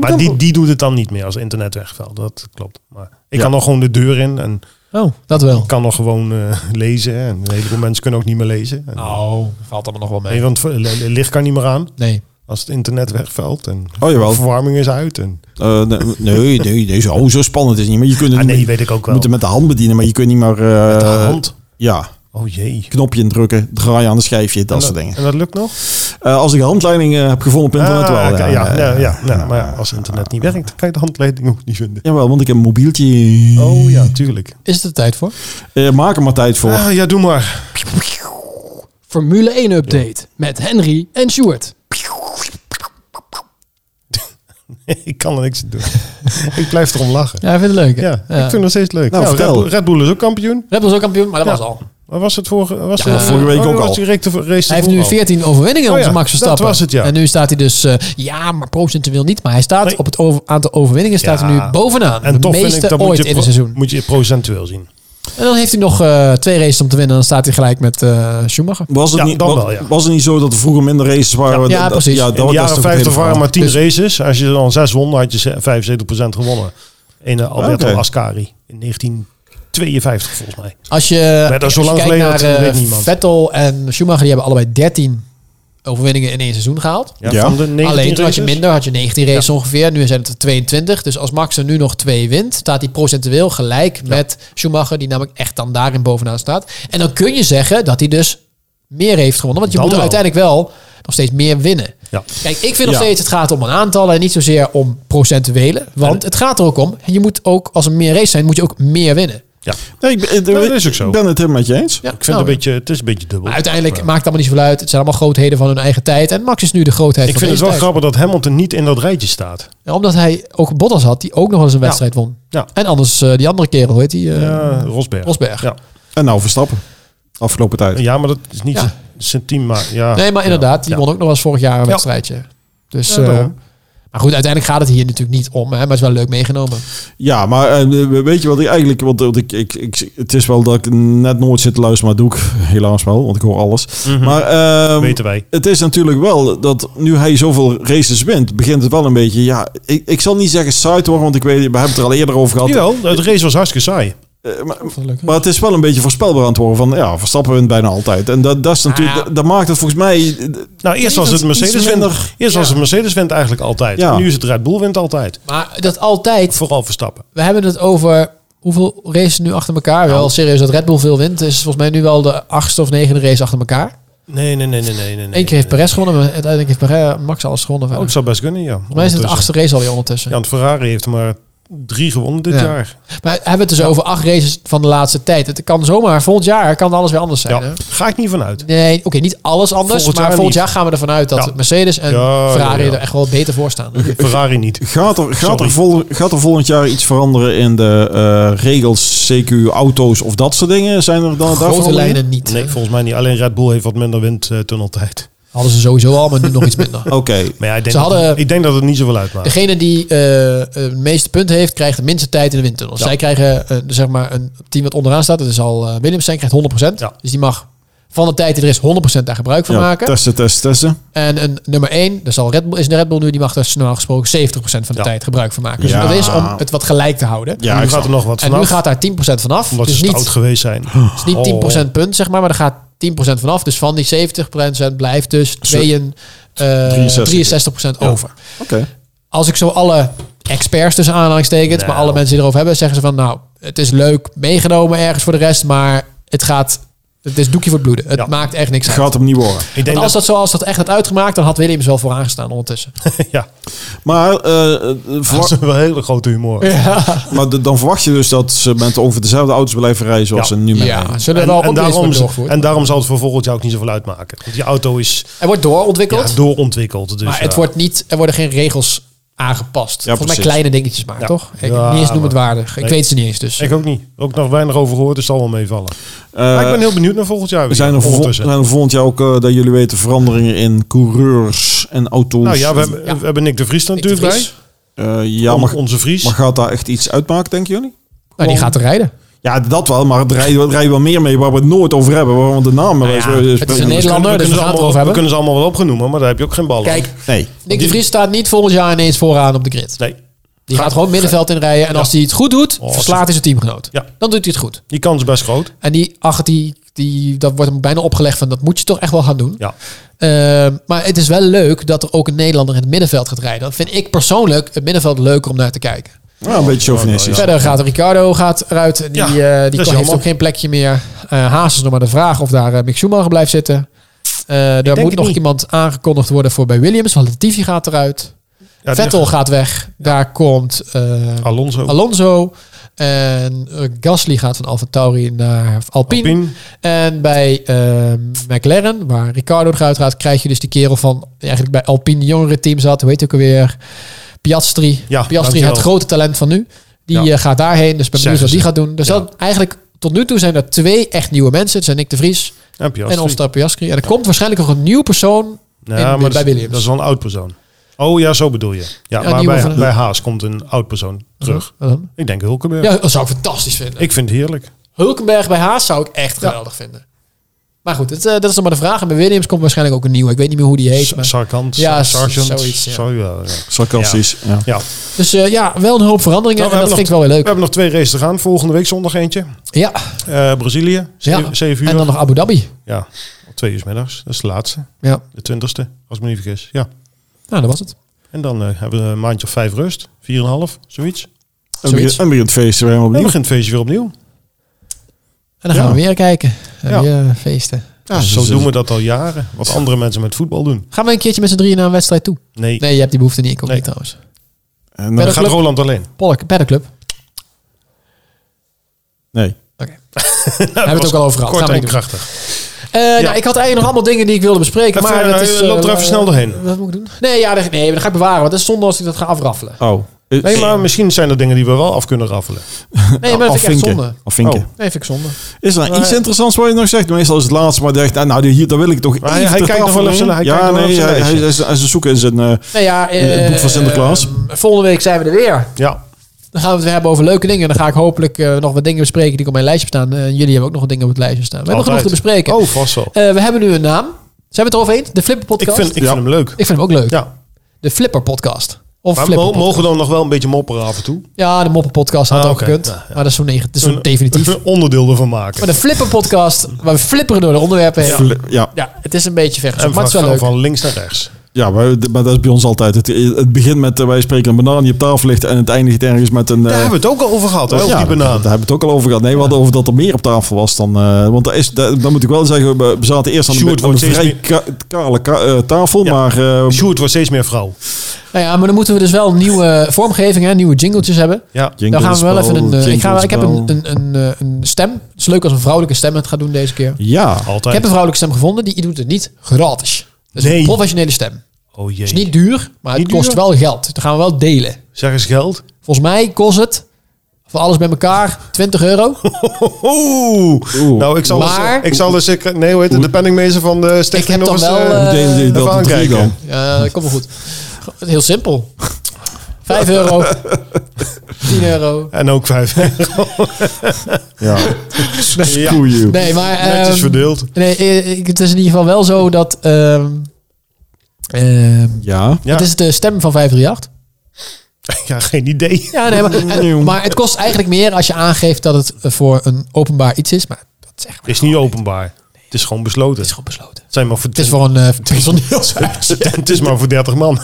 Maar die, die doet het dan niet meer als internet wegvalt. Dat klopt. Maar ik Ja. kan nog gewoon de deur in en Oh, dat wel. kan nog gewoon eh, lezen. En een heleboel mensen kunnen ook niet meer lezen. En- Nou, valt allemaal nog wel Nee, want het licht kan niet meer aan Nee. als het internet wegvalt. En Oh, jawel. verwarming is uit. En, Eh, nee, nee, nee, nee, zo, oh, zo spannend is het niet. Maar je kunt het ah, nee, niet- weet ik ook je wel. Dus moet het met de hand bedienen, maar je kunt niet meer... eh, Met de hand? Ja, Oh jee. knopje indrukken, draaien aan de schijfje, dat En soort dingen. En dat lukt nog? Eh, als ik een handleiding eh, heb gevonden op internet Ah, wel. oké, ja, ja, eh, ja, ja, ja. Maar ja, als internet niet werkt, kan je de handleiding ook niet vinden. Jawel, want ik heb een mobieltje. Oh ja, tuurlijk. Is het er tijd voor? Eh, maak er maar tijd voor. Ah, ja, doe maar. Formule 1 update met Henry en Stuart. ik kan er niks aan doen. ik blijf erom lachen. Ja, ik vind het leuk. hè? Ja, ik vind het nog steeds leuk. Nou, Ja, Red, vertel. Bull, Red Bull is ook kampioen. Red Bull is ook kampioen, maar dat Ja. was al. Waar was het vorige, was Ja, het, vorige week oh, ook was al. die rechte- race Hij heeft ervoor nu al. 14 overwinningen Oh onze ja, Max dat Verstappen. was het, ja. En nu staat hij dus, eh, ja, maar procentueel niet. Maar hij staat Nee. op het over- aantal overwinningen staat hij Ja. nu bovenaan. En de toch meeste vind ik, dat moet ooit je, in pro- een seizoen. moet je procentueel zien. En dan heeft hij nog eh, twee races om te winnen. En dan staat hij gelijk met eh, Schumacher. Was het, Ja, niet, dan wa- was, wel, ja. het niet zo dat er vroeger minder races waren? Ja, Dat- precies. Ja, In dat, In de dat is jaren toch het hele 50 waren verhaal. maar 10 Dus- races. Als je er dan 6 won, had je ze- 75% gewonnen. In eh, Alberto Oké. Ascari in 1952 volgens mij. Als je, Maar dat is als zo je lang kijkt geleden, naar dat weet eh, niemand. Vettel en Schumacher, die hebben allebei 13 overwinningen in één seizoen gehaald. Ja. van de 19 Alleen toen had je races. minder, had je 19 races ongeveer. Nu zijn het er 22. Dus als Max er nu nog twee wint, staat hij procentueel gelijk met Schumacher, die namelijk echt dan daarin bovenaan staat. En dan kun je zeggen dat hij dus meer heeft gewonnen. Want je Dan moet er wel. uiteindelijk wel nog steeds meer winnen. Ja. Kijk, ik vind nog Ja. steeds het gaat om een aantal en niet zozeer om procentuele. Want het gaat er ook om. Je moet ook, als er meer races zijn, moet je ook meer winnen. Ja. Nee, ik, ben- eh, dat is ook zo. ik ben het helemaal met je eens. Ja, Ik vind het, een beetje, het is een beetje dubbel. Nou, Maar uiteindelijk maakt het allemaal niet zoveel uit. Het zijn allemaal grootheden van hun eigen tijd. En Max is nu de grootheid ik van vind het deze wel tijd. grappig dat Hamilton niet in dat rijtje staat. Ja, Omdat hij ook Bottas had, die ook nog wel eens een wedstrijd won. Ja. En anders eh, die andere kerel, hoe heet die? eh, Ja, Rosberg. Rosberg. Ja. En nou Verstappen. Afgelopen tijd. ja, maar dat is niet Ja. zijn team. Maar ja. Nee, maar inderdaad, die Ja. won ook nog wel eens vorig jaar een Ja. wedstrijdje. Dus, Ja, eh, daarom. Maar goed, uiteindelijk gaat het hier natuurlijk niet om. Hè, maar het is wel leuk meegenomen. Ja, maar eh, weet je wat ik eigenlijk... Want want ik, ik, ik, het is wel dat ik net nooit zit te luisteren, maar dat doe ik helaas wel. Want ik hoor alles. Mhm. Maar ehm, weten wij. het is natuurlijk wel dat nu hij zoveel races wint... begint het wel een beetje... Ja, ik, ik zal niet zeggen saai te worden, want ik weet, we hebben het er al eerder over gehad. Jawel, het race was hartstikke saai. Nou, Eh, maar, Wat leuk. maar het is wel een beetje voorspelbaar aan het worden van... Ja, Verstappen wint bijna altijd. En dat, dat, is natuurlijk, Ah. dat, dat maakt het volgens mij... Nou, eerst was het Iets Mercedes wint. minder. Eerst was het Mercedes wint eigenlijk altijd. Ja. En nu is het Red Bull wint altijd. Maar dat altijd. Vooral Verstappen. We hebben het over hoeveel races nu achter elkaar. Nou. Wel serieus dat Red Bull veel wint. Is volgens mij nu wel de achtste of negende race achter elkaar. Nee, nee, nee, nee, nee. nee Eén keer heeft Perez gewonnen. Maar uiteindelijk heeft Perez eh, Max alles gewonnen. Oh, Volgens het zou best kunnen, ja. mij is het de achtste race alweer ondertussen. Ja, want Ferrari heeft er maar drie gewonnen dit Ja. jaar. Maar hebben we het dus over acht races van de laatste tijd. Het kan zomaar, volgend jaar kan alles weer anders zijn. Ja, Hè? ga ik niet vanuit. Nee, oké, niet alles anders. Volgend maar jaar volgend niet. jaar gaan we ervan uit dat Ja. Mercedes en Ja, Ferrari ja, ja. er echt wel beter voor staan. Ferrari niet. Gaat er, gaat, Sorry. er vol, gaat er volgend jaar iets veranderen in de eh, regels, CQ, auto's of dat soort dingen? Zijn er dan Grote lijnen. lijnen niet. Nee, volgens mij niet. Alleen Red Bull heeft wat minder eh, windtunneltijd. Hadden ze sowieso al, maar nu nog iets minder. Oké. Maar ja, ik denk, Ze hadden- dat, ik denk dat het niet zoveel uitmaakt. Degene die eh, eh, het meeste punten heeft, krijgt de minste tijd in de windtunnel. Zij krijgen eh, zeg maar een team wat onderaan staat, dat is al eh, Williams zijn, krijgt 100%. Ja. Dus die mag van de tijd die er is 100% daar gebruik van Ja, maken. Testen, testen, testen. En een nummer 1, dat is, al Red Bull, is de Red Bull nu, die mag daar normaal gesproken 70% van de Ja. tijd gebruik van maken. Dus Ja. dat is om het wat gelijk te houden. Ja, nu ik gaat er nog wat En vanaf. nu gaat daar 10% vanaf. omdat Dus ze stout niet, geweest zijn. Oh. dus niet 10% punt, zeg maar, maar er gaat 10% vanaf. Dus van die 70% blijft dus Zo- 62, eh, 63. 63% over. Oké. Als ik zo alle experts tussen aanhalingstekens, maar Nou. alle mensen die erover hebben, zeggen ze van nou, het is leuk meegenomen ergens voor de rest, maar het gaat, het is doekje voor het bloeden. Het Ja. maakt echt niks Het uit. gaat hem niet worden. Ik denk Want dat, als dat zoals dat echt had uitgemaakt, dan had Williams wel vooraan gestaan ondertussen. ja, Maar, eh, eh, verwa- dat is wel een hele grote humor. maar de- dan verwacht je dus dat ze met ongeveer dezelfde auto's blijven rijden zoals Ja. ze nu met rijden. Ja, zullen En, er wel en opleidingen daarom, worden doorgevoerd. en daarom zal het voor volgend jaar ook niet zoveel uitmaken. Want die auto is Er wordt doorontwikkeld, ja, doorontwikkeld. Dus maar het ja. wordt niet, er worden geen regels aangepast. Volgens mij precies. kleine dingetjes maar, Ja. toch? Ik, Ja, niet eens noem het maar- waardig. Ik Nee. weet ze niet eens, dus. Ik ook niet. Ook nog weinig over gehoord, dus het zal wel meevallen. Eh, maar ik ben heel benieuwd naar volgend jaar weer. zijn er, vol, ondertussen. zijn er volgend jaar ook, eh, dat jullie weten, veranderingen in coureurs en auto's? Nou ja, we hebben, Ja. we hebben Nick de Vries er Nick de natuurlijk bij. Eh, ja, On- maar, onze Vries. Dus maar gaat daar echt iets uitmaken, denken jullie? Nou, die gaat er rijden. Ja, dat wel, maar het rijden, het rijden wel meer mee waar we het nooit over hebben. Want de Nou naam ja, zo- het is een We Nederlander, kunnen dus ze we gaan het allemaal- erover we hebben. kunnen ze allemaal wel opgenoemen, maar daar heb je ook geen bal Kijk, Nee. Nick de Vries staat niet volgend jaar ineens vooraan op de grid. Nee, Die gaat gewoon middenveld inrijden. En als hij het goed doet, Oh, verslaat hij zijn teamgenoot. Ja. Dan doet hij het goed. die kans is best groot. En die acht, die, die, dat wordt hem bijna opgelegd van dat moet je toch echt wel gaan doen. Ja. Ehm, maar het is wel leuk dat er ook een Nederlander in het middenveld gaat rijden. Dat vind ik persoonlijk het middenveld leuker om naar te kijken. Ja, een beetje chauvinistisch. Verder gaat Ricardo gaat eruit. Die, Ja, eh, dat die is kan, heeft jammer. ook geen plekje meer. Eh Haas is nog maar de vraag of daar eh, Mick Schumacher blijft zitten. Eh daar denk moet het nog niet. iemand aangekondigd worden voor bij Williams. Want Latifi gaat eruit. Ja, Vettel gaat weg. Daar komt... eh, Alonso. Alonso. En eh, Gasly gaat van Alfa Tauri naar Alpine. Alpine. En bij ehm, McLaren, waar Ricardo eruit gaat, krijg je dus die kerel van die eigenlijk bij Alpine jongere team zat. Hoe heet hij ook alweer? Piastri. Ja, Piastri, dankjewel. het grote talent van nu. Die Ja. eh, gaat daarheen. Dus ik ben benieuwd Zeggen wat die ze. gaat doen. Dus dat eigenlijk tot nu toe zijn er twee echt nieuwe mensen. Het zijn Nick de Vries En Piastri. en Oscar Piastri. En er komt waarschijnlijk nog een nieuw persoon. Ja, in- maar bij dat, is- Williams. dat is wel een oud persoon. Oh ja, zo bedoel je. Ja, Ja, maar nieuwe bij, van- bij Haas komt een oud persoon terug. Wat dan? Ik denk Hulkenberg. Ja, dat zou ik fantastisch vinden. Ik vind het heerlijk. Hulkenberg bij Haas zou ik echt geweldig vinden. Maar goed, het, eh, dat is nog maar de vraag. En bij Williams komt waarschijnlijk ook een nieuwe. Ik weet niet meer hoe die heet. Sa- Maar. Sarkant, Ja, ja, Sergeant. zoiets, ja. Sorry, ja, ja. Sarcastisch. Ja. Ja. Dus eh, ja, wel een hoop veranderingen. Nou, we en hebben dat vind ik wel weer We leuk. hebben nog twee races te gaan. Volgende week zondag eentje. Ja, Eh, Brazilië, Ja. 7 uur. en dan nog Abu Dhabi. Ja, om twee uur 's middags. Dat is de laatste. Ja, De twintigste, als ik me niet vergis. Ja. nou, dat was het. En dan eh, hebben we een maandje of vijf rust. Vier en een half, zoiets. En En Zoiets. begint- En begint het feest weer helemaal dan opnieuw. begint het feestje weer opnieuw. En dan gaan Ja. we weer kijken. En Ja. weer feesten. Ja, Dus zo doen we dat al jaren. Wat andere mensen met voetbal doen. Gaan we een keertje met z'n drieën naar een wedstrijd toe? Nee, Nee, je hebt die behoefte niet. Ik ook Nee. niet trouwens. En eh, Verder- dan- dan gaat Roland alleen. Polk, paddenclub. We Nee. hebben we het ook al over gehad. Kort Gaan we en niet doen. krachtig. Eh, Ja. nou, ik had eigenlijk nog allemaal dingen die ik wilde bespreken. Even, maar dat eh, is, loop er eh, even snel doorheen. Wat moet ik doen? Nee, ja, dat- nee, dat ga ik bewaren. Want dat is zonde als ik dat ga afraffelen. Oh. Nee, maar misschien zijn er dingen die we wel af kunnen raffelen. Nee, maar dat vind ik echt Afvinken. zonde. Afvinken. Nee, vind ik zonde. Oh. Is er nou Maar- iets interessants wat je nog zegt? Meestal is het laatste, maar dacht, nou, die- hier, daar wil ik toch Maar hij- even hij ter kijkt nog tafel wel even heen. zijn- hij Ja, kijkt nog wel nee, even hij, zijn hij, hij, lijstje. hij- ze zoeken in zijn... eh, Nou ja, het eh, boek van Sinterklaas. eh, volgende week zijn we er weer. Ja, Dan gaan we het weer hebben over leuke dingen. En dan ga ik hopelijk eh, nog wat dingen bespreken die ik op mijn lijstje staan. En jullie hebben ook nog wat dingen op het lijstje staan. We hebben altijd. genoeg te bespreken. Oh, vast wel. Eh, we hebben nu een naam. Zijn we het erover eens? De Flipper Ik Podcast? vind, ik Ja. vind hem leuk. Ik vind hem ook leuk. Ja. De Flipper Podcast. Of Maar Flipper mo- Podcast. mogen we dan nog wel een beetje mopperen af en toe? Ja, de Moppen Podcast had Ah, ook oké. gekund. Ja, ja. Maar dat is zo, neg- dat is zo definitief. Een onderdeel ervan maken. Maar de Flipper Podcast, waar we flipperen door de onderwerpen heen. Ja, fli- ja, het is een beetje vergezocht, en maar van, het is wel leuk. van links naar rechts. ja maar, maar dat is bij ons altijd. Het, het begint met, eh, wij spreken een banaan die op tafel ligt en het eindigt ergens met een... eh, Daar hebben we het ook al over gehad, hè? Over ja, die Daar banaan. hebben we het ook al over gehad. Nee, we hadden over dat er meer op tafel was dan... eh, want daar is, daar, dan moet ik wel zeggen, we we zaten eerst aan de Sjoerd een, wordt een vrij steeds ka- kale ka- eh, tafel, Ja. maar... eh, Sjoerd wordt steeds meer vrouw. Nou ja, maar dan moeten we dus wel nieuwe vormgeving, hè, nieuwe jingletjes hebben. Ja. oh, Dan gaan we wel even een... jinglespel, eh, ik, ga, wel- ik heb een, jinglespel. een, een, eh, een stem. Het is leuk als een vrouwelijke stem het gaat doen deze keer. Ja, Ik Altijd. heb een vrouwelijke stem gevonden, die doet het niet gratis. Dat is Nee. een professionele stem. Het Oh is jee. niet duur, maar het Niet kost duur? wel geld. Dat gaan we wel delen. Zeg eens geld. Volgens mij kost het, voor alles bij elkaar, 20 euro. Oeh. Oeh. Nou, ik zal, Maar- dus, ik zal dus, ik, nee, hoe heet het, de penningmeester van de stichting Ik heb nog dan eens, wel, eh, eh, Hoe deden jullie even dat in drie aankijken. dan? Ja, dat komt wel goed. Heel simpel. 5 euro. 10 euro. En ook vijf. Ja. Ja. Screw you. Nee, maar... Netjes ehm, verdeeld. nee, eh, ik- het is in ieder geval wel zo dat... ehm, ehm, Ja. Ja. Het is de stem van 538. ja, geen idee. Ja, nee, maar, en- maar het kost eigenlijk meer als je aangeeft dat het eh, voor een openbaar iets is. Maar dat zeggen we. Het is niet openbaar. Het is gewoon besloten. is gewoon besloten. Het, zijn maar voor, Het is voor een eh, personeelshuis. het is maar voor 30 man.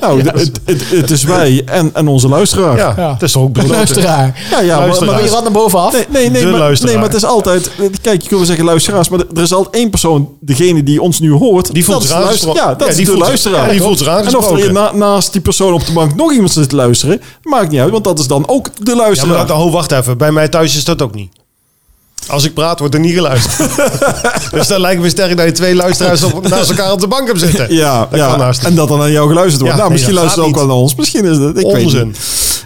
Nou, d- het, het, het is wij en, en onze luisteraar. Ja, Ja. het is toch ook Een besloten. luisteraar. ja, ja maar, Luisteraar. Maar maar- wie rand naar bovenaf? nee, nee, nee, De maar, luisteraar. nee, maar het is altijd... Kijk, je kunt wel zeggen luisteraars, maar er is altijd één persoon, degene die ons nu hoort... Die voelt dat is zich de luister- aangesproken. Ja, Ja, dat is die de voelt zich- luisteraar. ja, die voelt zich En of er aangesproken. hier na- naast die persoon op de bank nog iemand zit te luisteren, maakt niet uit, want dat is dan ook de Ja, luisteraar. maar dat, oh, wacht even. Bij mij thuis is dat ook niet. Als ik praat, wordt er niet geluisterd. dus dan lijkt me sterk dat je twee luisteraars op, naast elkaar op de bank hebt zitten. ja, dat kan haast. en dat dan aan jou geluisterd wordt. Ja, nou, nee, misschien dat luistert ook gaat wel naar ons. Misschien is dat... Ik weet Onzin. niet.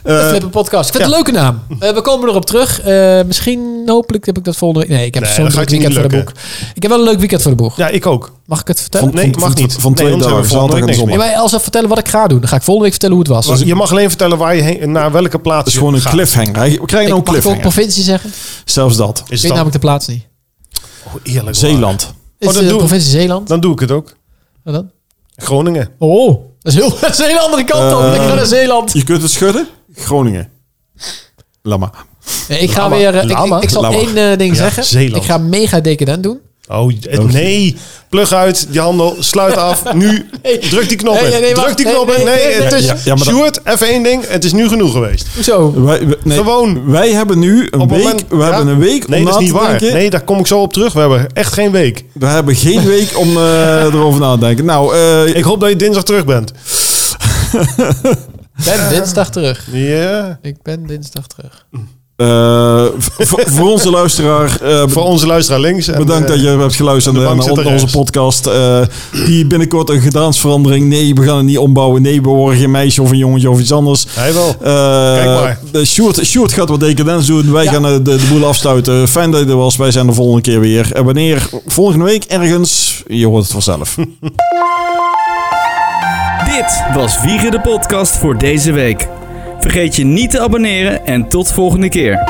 De Eh, Flipper Podcast. Ik vind het een leuke naam. Eh, we komen erop terug. Eh, misschien, hopelijk heb ik dat volgende week. Nee, ik heb Nee, zo'n dat leuk gaat je weekend niet voor de boek. lukken. Ik heb wel een leuk weekend voor de boeg. Ja, ik ook. Mag ik het vertellen? Van- Nee, mag niet. van twee Nee, ons hebben dagen, we volgende zaterdag week en niks zondag. Nee, maar als we vertellen wat ik ga doen, dan ga ik volgende week vertellen hoe het was. Maar je mag alleen vertellen waar je heen, naar welke plaats Het is je Dus gewoon een gaat. cliffhanger. hè. We krijgen nou ik, een mag ik ook cliffhanger. provincie zeggen? Ik Zelfs dat. Is weet het dan namelijk de plaats niet. Oh, eerlijk waar. Zeeland. Is dat het de doen we. provincie Zeeland? Dan doe ik het ook. Wat dan? Groningen. Oh, dat is, heel, dat is een hele andere kant op. Eh, ik ga naar Zeeland. Je kunt het schudden. Groningen. Lama. Nee, ik ga weer... eh, ik, Lama. ik, ik zal Lama. één eh, ding Ja, zeggen. Zeeland. Ik ga mega decadent doen. Oh, eh, nee. Plug uit, die handel, sluit af. Nu, Nee. druk die knop Nee, in. nee, nee, wacht. druk die Nee, knop in. nee, Nee, nee, nee, het is... nee. Ja, ja, maar dat- Sjoerd, even één ding. Het is nu genoeg geweest. Hoezo? Wij, we- nee, Gewoon. Wij hebben nu een Op het week. moment- we ja. hebben een week Nee, om dat is na niet te waar. denken. Nee, daar kom ik zo op terug. We hebben echt geen week. We hebben geen week om eh, erover na te denken. Nou, eh, Ik hoop dat je dinsdag terug bent. Ik ben dinsdag terug. Ja. Ik ben dinsdag terug. eh, voor, voor onze luisteraar. eh, Voor onze luisteraar links. En, Bedankt eh, dat je hebt geluisterd de naar, bank naar zit er onze rechts. podcast. eh, die binnenkort een gedaansverandering. Nee, we gaan het niet ombouwen. Nee, we horen geen meisje of een jongetje of iets anders. Hij wel. Eh, Kijk maar. de Sjoerd, Sjoerd gaat wat decadent doen. Wij Ja. gaan eh, de, de boel afsluiten. Fijn dat je er was. Wij zijn de volgende keer weer. En wanneer? Volgende week ergens. Je hoort het vanzelf. Dit was Wiegen de Podcast voor deze week. Vergeet je niet te abonneren en tot volgende keer.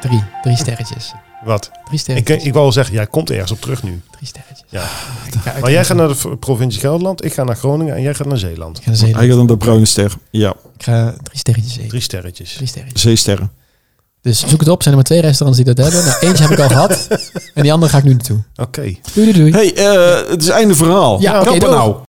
Drie. Drie sterretjes. Wat? Drie Ik, sterretjes. ik wou al zeggen, jij komt ergens op terug nu. Drie sterretjes. Ja. Ik ga uit- Maar jij gaat naar de v- provincie Gelderland. Ik ga naar Groningen. En jij gaat naar Zeeland. Ik ga naar Zeeland. Hij gaat aan de bruine ster. Ja, Ik ga drie sterretjes eten. Drie sterretjes. Drie sterretjes. zeesterren. Dus zoek het op. Zijn er maar twee restaurants die dat hebben. Nou, eentje heb ik al gehad. En die andere ga ik nu naartoe. Oké. Doei, doei, doei. hey, eh, het is einde verhaal. Ja, oké, Kappen doeg. nou.